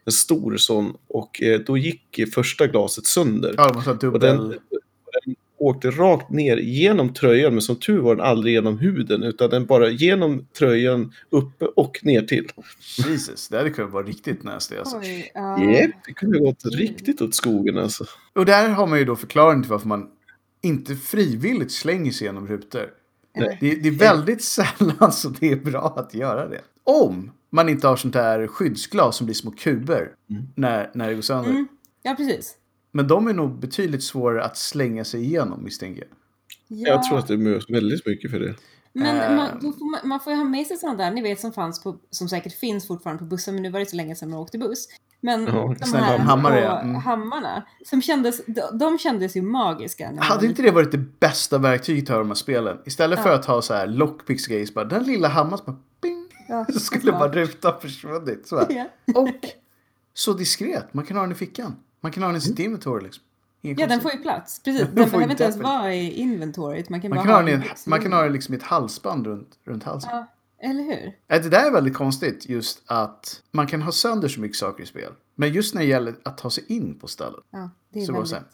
A: En stor sån. Och eh, då gick första glaset sönder.
B: Ja, de måste ha
A: Och den,
B: dubbel...
A: och den, åkte rakt ner genom tröjan, men som tur var den aldrig genom huden, utan den bara genom tröjan uppe och ner till.
B: Jesus, det hade kunnat vara riktigt nasty alltså.
D: Oj,
A: Ja,
C: Ah.
D: ja.
A: det kunde gått riktigt åt skogen alltså.
B: Och där har man ju då förklaringen till varför man inte frivilligt slänger sig genom rutor.
A: Nej.
B: Det, det är väldigt [LAUGHS] sällan så det är bra att göra det. Om man inte har sånt där skyddsglas som blir små kuber när, när det går sönder.
D: Mm. ja, precis.
B: Men de är nog betydligt svårare att slänga sig igenom misstänker jag.
D: Ja.
A: Jag tror att det behövs väldigt mycket för det.
D: Men
B: Ehm.
D: man, då får man, man får ju ha med sig sådana där, ni vet som fanns på, som säkert finns fortfarande på bussar, men nu var det så länge sedan man åkte buss. Men
A: Ja,
D: de
B: snälla,
D: här
B: hammare,
D: på
B: ja. Mm.
D: hammarna, som kändes, de, de kändes ju magiska. när man var
B: Hade inte det varit det bästa verktyget att ha i de här spelen? Istället för
D: Ja.
B: att ha så här lockpicks grejer, så bara den lilla hammaren så bara bing, [LAUGHS]
D: liten.
B: så skulle bara rutan försvunnit. Så
D: [LAUGHS]
B: här.
D: Ja.
B: Och så diskret, man kan ha den i fickan. Man kan ha den i sitt inventory liksom. Ingen
D: Mm. ja, den får
B: konstigt.
D: ju plats. Precis, den
B: Den får
D: behöver
B: ju
D: inte ens
B: definitivt-
D: vara i inventoriet. Man kan,
B: man,
D: bara
B: kan ha den i
D: den
B: en,
D: i
B: man kan ha den liksom i ett halsband runt, runt halsen.
D: Ja, eller hur?
B: Nej, Det där är väldigt konstigt, just att man kan ha sönder så mycket saker i spel. Men just när det gäller att ta sig in på stället
D: Ja, det är
B: så var det
D: väldigt...
B: så här,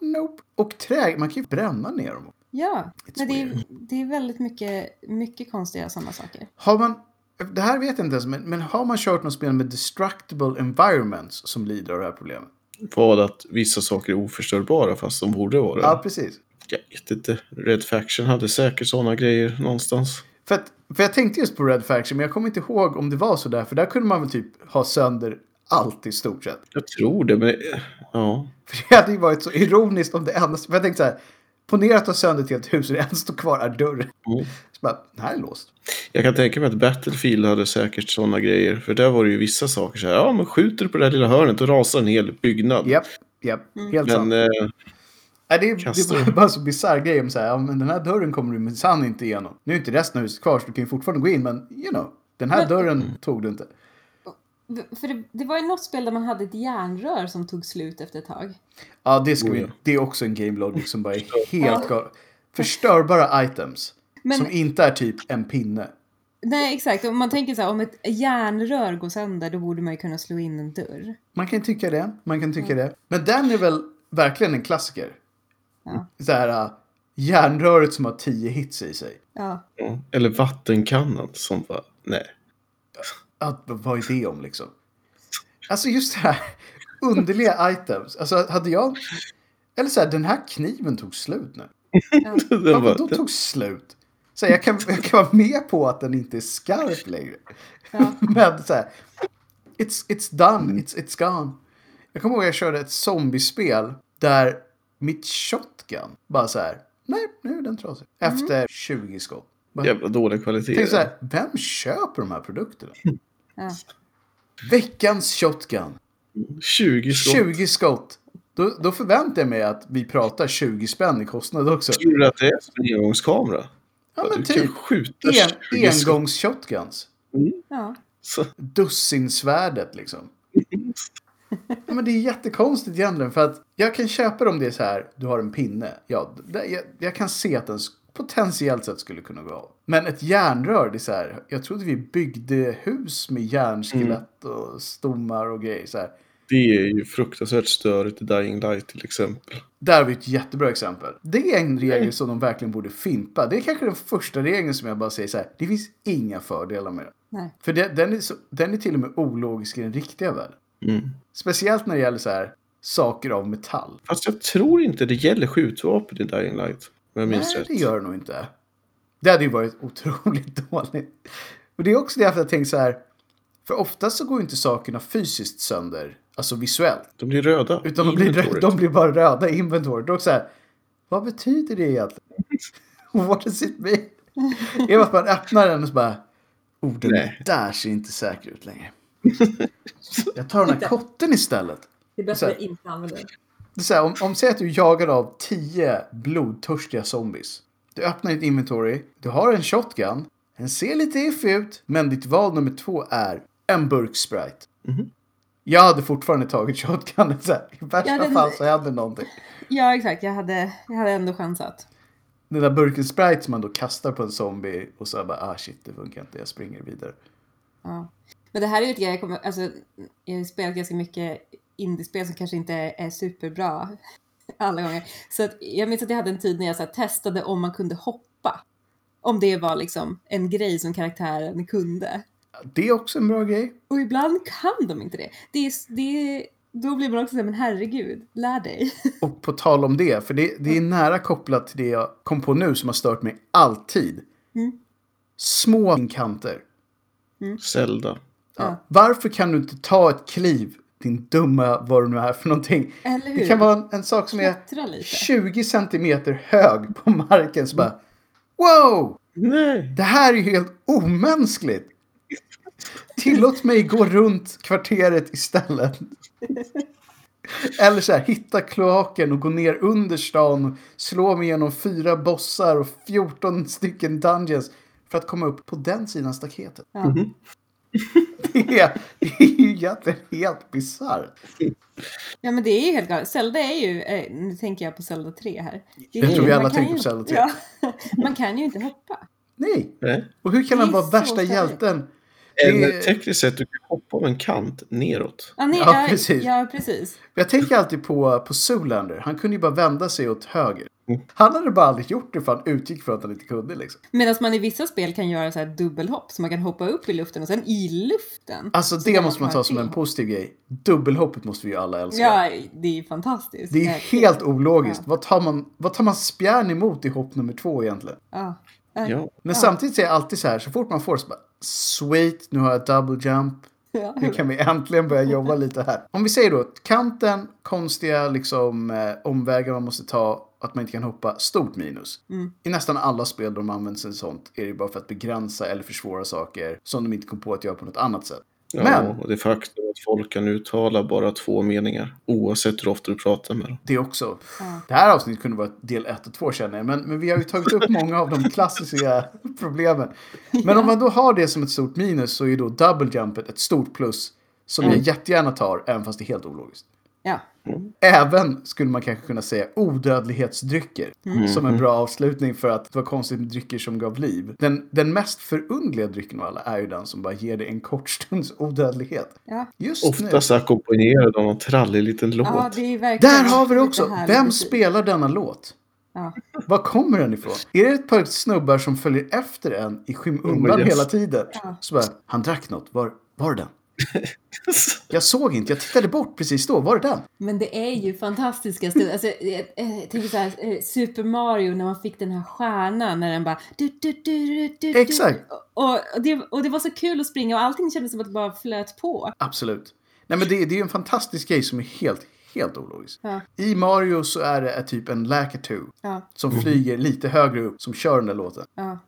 B: nope. Och trä, man kan ju bränna ner dem.
D: Ja,
B: It's
D: men det,
B: weird.
D: är, det är väldigt mycket, mycket konstiga sådana saker.
B: Har man, det här vet jag inte ens, men, men har man kört något spel med destructible environments som lider av det här problemet?
A: Vad att vissa saker är oförstörbara fast de borde vara det.
B: Ja, precis.
A: Jag vet inte. Red Faction hade säkert sådana grejer någonstans.
B: För, att, för jag tänkte just på Red Faction, men jag kommer inte ihåg om det var så där, för där kunde man väl typ ha sönder allt i stort sett.
A: Jag tror det, men det- ja.
B: För det hade ju varit så ironiskt om det enda... För jag tänkte så här, ponera att du har sönder ett helt hus och det enda som står kvar är dörren.
A: Mm.
B: Så bara, den här är låst.
A: Jag kan tänka mig att Battlefield hade säkert sådana grejer. För där var det ju vissa saker så här. Ja, man skjuter på det där lilla hörnet och rasar en hel byggnad.
B: Japp, japp,
D: Mm.
B: helt sant.
A: Men eh,
B: Nej, det, är, det
A: Kasta.
B: är bara- bara så bisarr grej om så här, ja, men den här dörren kommer du minsann inte igenom. Nu är inte resten av huset kvar så du kan ju fortfarande gå in, men you know. Den här
D: Men-
A: Mm.
B: dörren tog du inte.
D: För det, det var ju något spel där man hade ett järnrör som tog slut efter ett tag.
B: Ja, det, ska
A: Oh,
B: vi,
A: ja.
B: det är också en game logic som bara är helt gal. Förstörbara items.
D: Men-
B: Som inte är typ en pinne.
D: Nej, exakt. Om man tänker så här, om ett järnrör går sönder, då borde man ju kunna slå in en dörr.
B: Man kan tycka det, man kan tycka det. Men den är väl verkligen en klassiker.
D: Ja.
B: Så här, äh, järnröret som har tio hits i sig.
D: Ja,
A: ja. eller vattenkannan som var... Nej. [LAUGHS]
B: Att, vad är det om liksom? Alltså just det här underliga items. Alltså hade jag... Eller så här, den här kniven tog slut nu.
A: Den
B: Varför
A: var-
B: då tog slut? Så här, jag, kan, jag kan vara med på att den inte är skarp längre.
D: Ja.
B: [LAUGHS] Men så här, it's, it's done, it's, it's gone. Jag kommer ihåg att jag körde ett zombiespel där mitt shotgun bara så här, nej, nu är den trasig. Efter 20 skott. Bara,
A: Jävla dålig
B: jag
A: kvalitet.
B: tänkte så här, vem köper de här produkterna?
D: ja.
B: Veckans shotgun,
A: 20 skott.
B: 20 skott. Då, då förväntar jag mig att vi pratar 20 spänn i kostnad också.
A: Tror du att det är som en engångskamera?
B: Ja,
A: du
B: men
A: kan
B: typ.
A: skjuta
B: En,
A: 20 skott.
B: engångs-shotguns.
D: ja.
A: Så-
B: dussinsvärdet liksom. Ja, men det är jättekonstigt egentligen för att jag kan köpa det om det är så här, du har en pinne. Ja, det, jag, jag kan se att den s- potentiellt sett skulle kunna gå av. Men ett järnrör, det är så här, jag trodde vi byggde hus med järnskelett och stommar och grejer så här.
A: Det är ju fruktansvärt störigt i Dying Light till exempel.
B: Där har vi ett jättebra exempel. Det är en regel som de verkligen borde fimpa. Det är kanske den första regeln som jag bara säger så här, det finns inga fördelar med det.
D: Nej.
B: För det, den, är så, den är till och med ologisk i den riktiga världen.
A: Mm.
B: Speciellt när det gäller så här saker av metall.
A: Fast jag tror inte det gäller skjutvapen i Dying Light. Om jag minns
B: Nej,
A: rätt.
B: det gör det nog inte. Det hade ju varit [LAUGHS] otroligt dåligt. Och det är också därför jag tänker så här. För oftast så går ju inte sakerna fysiskt sönder, alltså visuellt.
A: De blir röda.
B: Utan de
A: i
B: blir, rö-
A: inventoriet.
B: de blir bara röda i inventoriet. Och så här, vad betyder det egentligen? [LAUGHS] What does it mean? Är det att man öppnar den och så bara, oh den
A: Nej.
B: där ser inte säker ut längre.
A: [LAUGHS]
B: Jag tar den här kotten istället.
D: Det är bättre
B: Så här. att
D: att inte använda det.
B: Det är så här, om, om säg att du är jagad av tio blodtörstiga zombies. Du öppnar ditt inventory, du har en shotgun, den ser lite iffig ut, men ditt val nummer två är en burk Sprite. Jag hade fortfarande tagit shotgunen så här. I värsta
D: Ja, den-
B: fall så händer någonting.
D: Ja, exakt. Jag hade, jag hade ändå chansat.
B: Den där burken Sprite som man då kastar på en zombie och så bara ah shit det funkar inte, jag springer vidare.
D: Ja. Men det här är ju ett grej jag kommer, alltså, jag har ju spelat ganska mycket indiespel som kanske inte är superbra
C: [LAUGHS] alla gånger. Så att jag minns att jag hade en tid när jag så här, testade om man kunde hoppa. Om det var liksom en grej som karaktären kunde.
B: Det är också en bra grej.
C: Och ibland kan de inte det. det, är, det då blir man också såhär, men herregud, lär dig.
B: Och på tal om det, för det, det är nära kopplat till det jag kom på nu som har stört mig alltid.
C: Mm.
B: Små kanter.
A: Zelda.
C: Ja.
B: Varför kan du inte ta ett kliv, din dumma vad du nu är för någonting?
C: Eller hur?
B: Det kan vara en, en sak som är
C: Klättra lite.
B: 20 centimeter hög på marken så bara Wow!
A: Nej.
B: Det här är ju helt omänskligt! Tillåt mig gå runt kvarteret istället. Eller så här, hitta kloaken och gå ner under stan och slå mig igenom fyra bossar och 14 stycken dungeons för att komma upp på den sidan staketet.
C: Ja.
B: Det är, det är ju egentligen helt bisarrt.
C: Ja men det är ju helt galet. Zelda är ju, eh, nu tänker jag på Zelda 3 här. Det är
B: Jag
C: ju-
B: tror vi alla
C: man kan
B: tänker
C: ju-
B: på Zelda 3.
C: Ja, [LAUGHS] man kan ju inte hoppa.
B: Nej!
A: Nej.
B: Och hur kan
C: Det
B: han
C: är
B: vara
C: så
B: värsta
C: farligt.
B: hjälten?
A: Eller
B: Det-
A: tekniskt sett, du kan hoppa av en kant neråt.
C: Ja, Ah, nej,
B: Ja,
C: ja,
B: precis.
C: Ja, precis.
B: Jag tänker alltid på, på Zoolander. Han kunde ju bara vända sig åt höger.
A: Mm.
B: Han hade bara aldrig gjort det för han utgick från att han inte kunde liksom.
C: Medan man i vissa spel kan göra så här dubbelhopp, så man kan hoppa upp i luften och sen i luften.
B: Alltså
C: Så
B: det
C: kan
B: måste man ta som en
C: till.
B: positiv grej. Dubbelhoppet måste vi ju alla älska.
C: Ja, det är ju fantastiskt.
B: Det är
C: verkligen.
B: helt ologiskt. Vad, tar man, vad tar man spjärn emot i hopp nummer två egentligen?
C: Ja.
A: Ja.
B: Men
C: Ja.
B: samtidigt är jag alltid så här, så fort man får så bara Sweet, nu har jag double jump.
C: Ja.
B: Nu kan vi äntligen börja jobba lite här. Om vi säger då att kanten, konstiga liksom, eh, omvägar man måste ta, att man inte kan hoppa, stort minus.
C: Mm.
B: I nästan alla spel där de använder en sånt är det bara för att begränsa eller försvåra saker som de inte kom på att göra på något annat sätt.
A: Ja,
B: Men-
A: och det faktum att folk kan uttala bara två meningar oavsett hur ofta du pratar med dem.
B: Det också.
C: Ja.
B: Det här avsnittet kunde vara del 1 och 2 känner jag, men, men vi har ju tagit upp många av de klassiska [LAUGHS] problemen. Men om man då har det som ett stort minus så är ju då double jumpet ett stort plus som
C: Mm.
B: jag jättegärna tar, även fast det är helt ologiskt.
C: ja.
B: Även skulle man kanske kunna säga odödlighetsdrycker
A: Mm.
B: som en bra avslutning för att det var konstigt med drycker som gav liv. Den, den mest förundliga drycken av alla är ju den som bara ger dig en kort stunds odödlighet.
C: Ja.
B: Just nu.
A: Oftast ackompanjerad av en trallig liten låt.
C: ja,
A: [LAUGHS]
C: det är verkligen...
B: Där har vi det
C: lite
B: också!
C: härlig
B: Vem
C: musik.
B: spelar denna låt?
C: Ja.
B: Var kommer den ifrån? Är det ett par snubbar som följer efter en i skymundan
A: Oh, yes.
B: hela tiden?
C: Ja.
B: Så bara, han drack något, var, var det den? Jag såg inte, jag tittade bort precis då, var det den?
C: Men det är ju fantastiska stunder. Alltså, jag, eh, jag tänker så här, eh, Super Mario när man fick den här stjärnan när den bara... Du, du, du, du, du, du.
B: Exakt.
C: Och, och, det, och det var så kul att springa och allting kändes som att det bara flöt på.
B: Absolut. Nej men det, det är ju en fantastisk grej som är helt, helt ologisk.
C: Ja.
B: I Mario så är det ett typ en Lakitu
C: Ja,
A: Mhm.
B: som flyger lite högre upp som kör den där låten.
C: ja.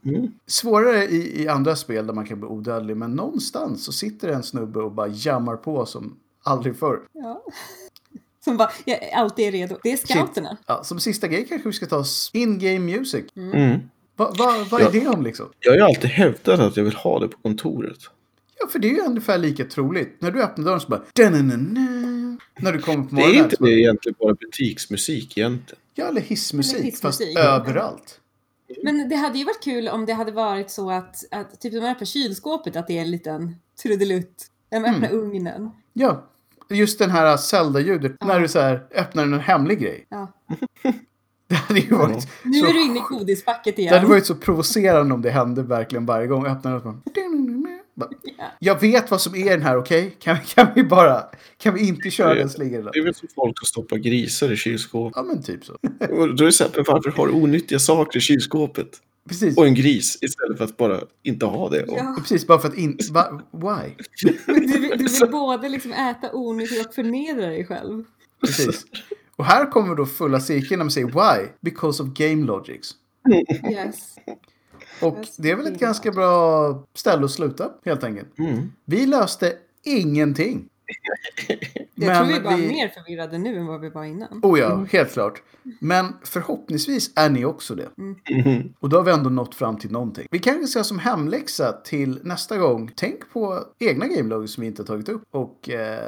B: Svårare i, i andra spel där man kan bli odödlig men någonstans så sitter det en snubbe och bara jammar på som aldrig förr.
C: Ja. [LAUGHS] Som bara, jag är alltid är redo. Det är scouterna.
B: Ja, som sista grej kanske vi ska ta oss in-game music.
A: Mm.
B: Va, va, vad är
A: Ja.
B: det om liksom?
A: Jag har ju alltid hävdat att jag vill ha det på kontoret.
B: Ja, för det är ju ungefär lika troligt. När du öppnar dörren så bara... "Da-na-na-na." När du kommer på
A: Det är
B: morgonen.
A: inte
B: så bara,
A: det egentligen bara butiksmusik egentligen.
B: Ja, eller hissmusik.
C: Eller
B: fast
C: hissmusik.
B: överallt.
C: Men det hade ju varit kul om det hade varit så att, att typ när man öppnar kylskåpet att det är en liten trudelutt. När man
B: Mm.
C: öppnar ugnen.
B: Ja, just den här Zelda-ljudet. När du så här öppnar en hemlig grej. [LAUGHS]
C: Ja.
B: Det hade ju varit...
C: Nu
B: så
C: är du inne i godisfacket igen.
B: Det hade varit så provocerande om det hände verkligen varje gång. Öppnar den och bara... Bara, Jag vet vad som är den här, okej? Kan, kan vi bara... Kan vi inte köra
A: Det-
B: den slingan?
A: Det är väl som folk som stoppar grisar i kylskåpet.
B: Ja, men typ så. [LAUGHS]
A: Och Då är det så här, men varför har du onyttiga saker i kylskåpet?
B: Precis.
A: Och en gris istället för att bara inte ha det. Och,
C: Ja,
B: Precis, bara för att inte... Va, why?
C: men du,
B: [LAUGHS]
C: vill- du vill både liksom äta onyttigt och förnedra dig själv.
B: Precis. Och här kommer då fulla cirkeln när man säger why? Because of game logics.
C: Yes.
B: Och det är väl ett ganska bra ställe att sluta helt enkelt.
A: mm.
B: Vi löste ingenting.
C: Jag tror vi var mer förvirrade nu än vad vi var innan.
B: Oh ja, helt klart. Men förhoppningsvis är ni också det.
A: Mhm.
B: Och då har vi ändå nått fram till någonting. Vi kanske ska som hemläxa till nästa gång. Tänk på egna gamelogs som vi inte har tagit upp. Och eh,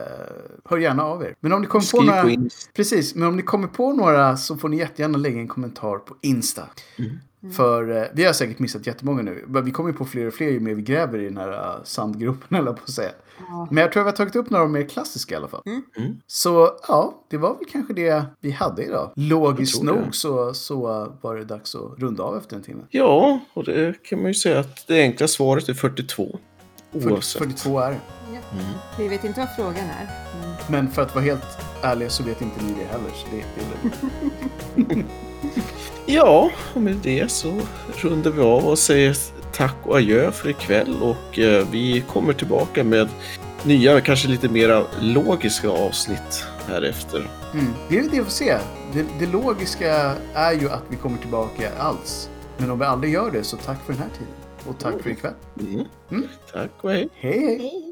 B: hör gärna av er. Men om ni kommer på
A: Skriv
B: några...
A: på Insta. Mm.
B: Precis, men om ni kommer på några så får ni jättegärna lägga en kommentar på Insta.
D: Mm.
B: För eh, vi har säkert missat jättemånga nu. Men Vi kommer ju på fler och fler ju mer vi gräver i den här eh, sandgropen, [LAUGHS] eller på att säga.
D: Ja.
B: Men jag tror att vi har tagit upp några av de mer klassiska i alla fall.
D: Mm.
A: Mm.
B: Så ja, det var väl kanske det vi hade idag. Logiskt
A: Jag tror det.
B: nog så, så eh, var det dags att runda av efter en timme.
A: Ja, och det kan man ju säga att det enkla svaret är 42.
B: 40
A: Oavsett.
B: 42 är det.
D: Vi vet inte vad frågan är. Men
B: Men för att vara helt ärlig så vet inte ni det heller. Så det, det är lugnt.
A: Ja, och med det så rundar vi av och säger tack och adjö för ikväll och eh, vi kommer tillbaka med nya, kanske lite mera logiska avsnitt härefter.
B: Mm. Det är väl det vi får se. Det, det logiska är ju att vi kommer tillbaka alls. Men om vi aldrig gör det så tack för den här tiden. Och tack för ikväll.
A: Mm.
B: Mm.
A: Tack och hej!
B: Hej hej!
D: hej, hej.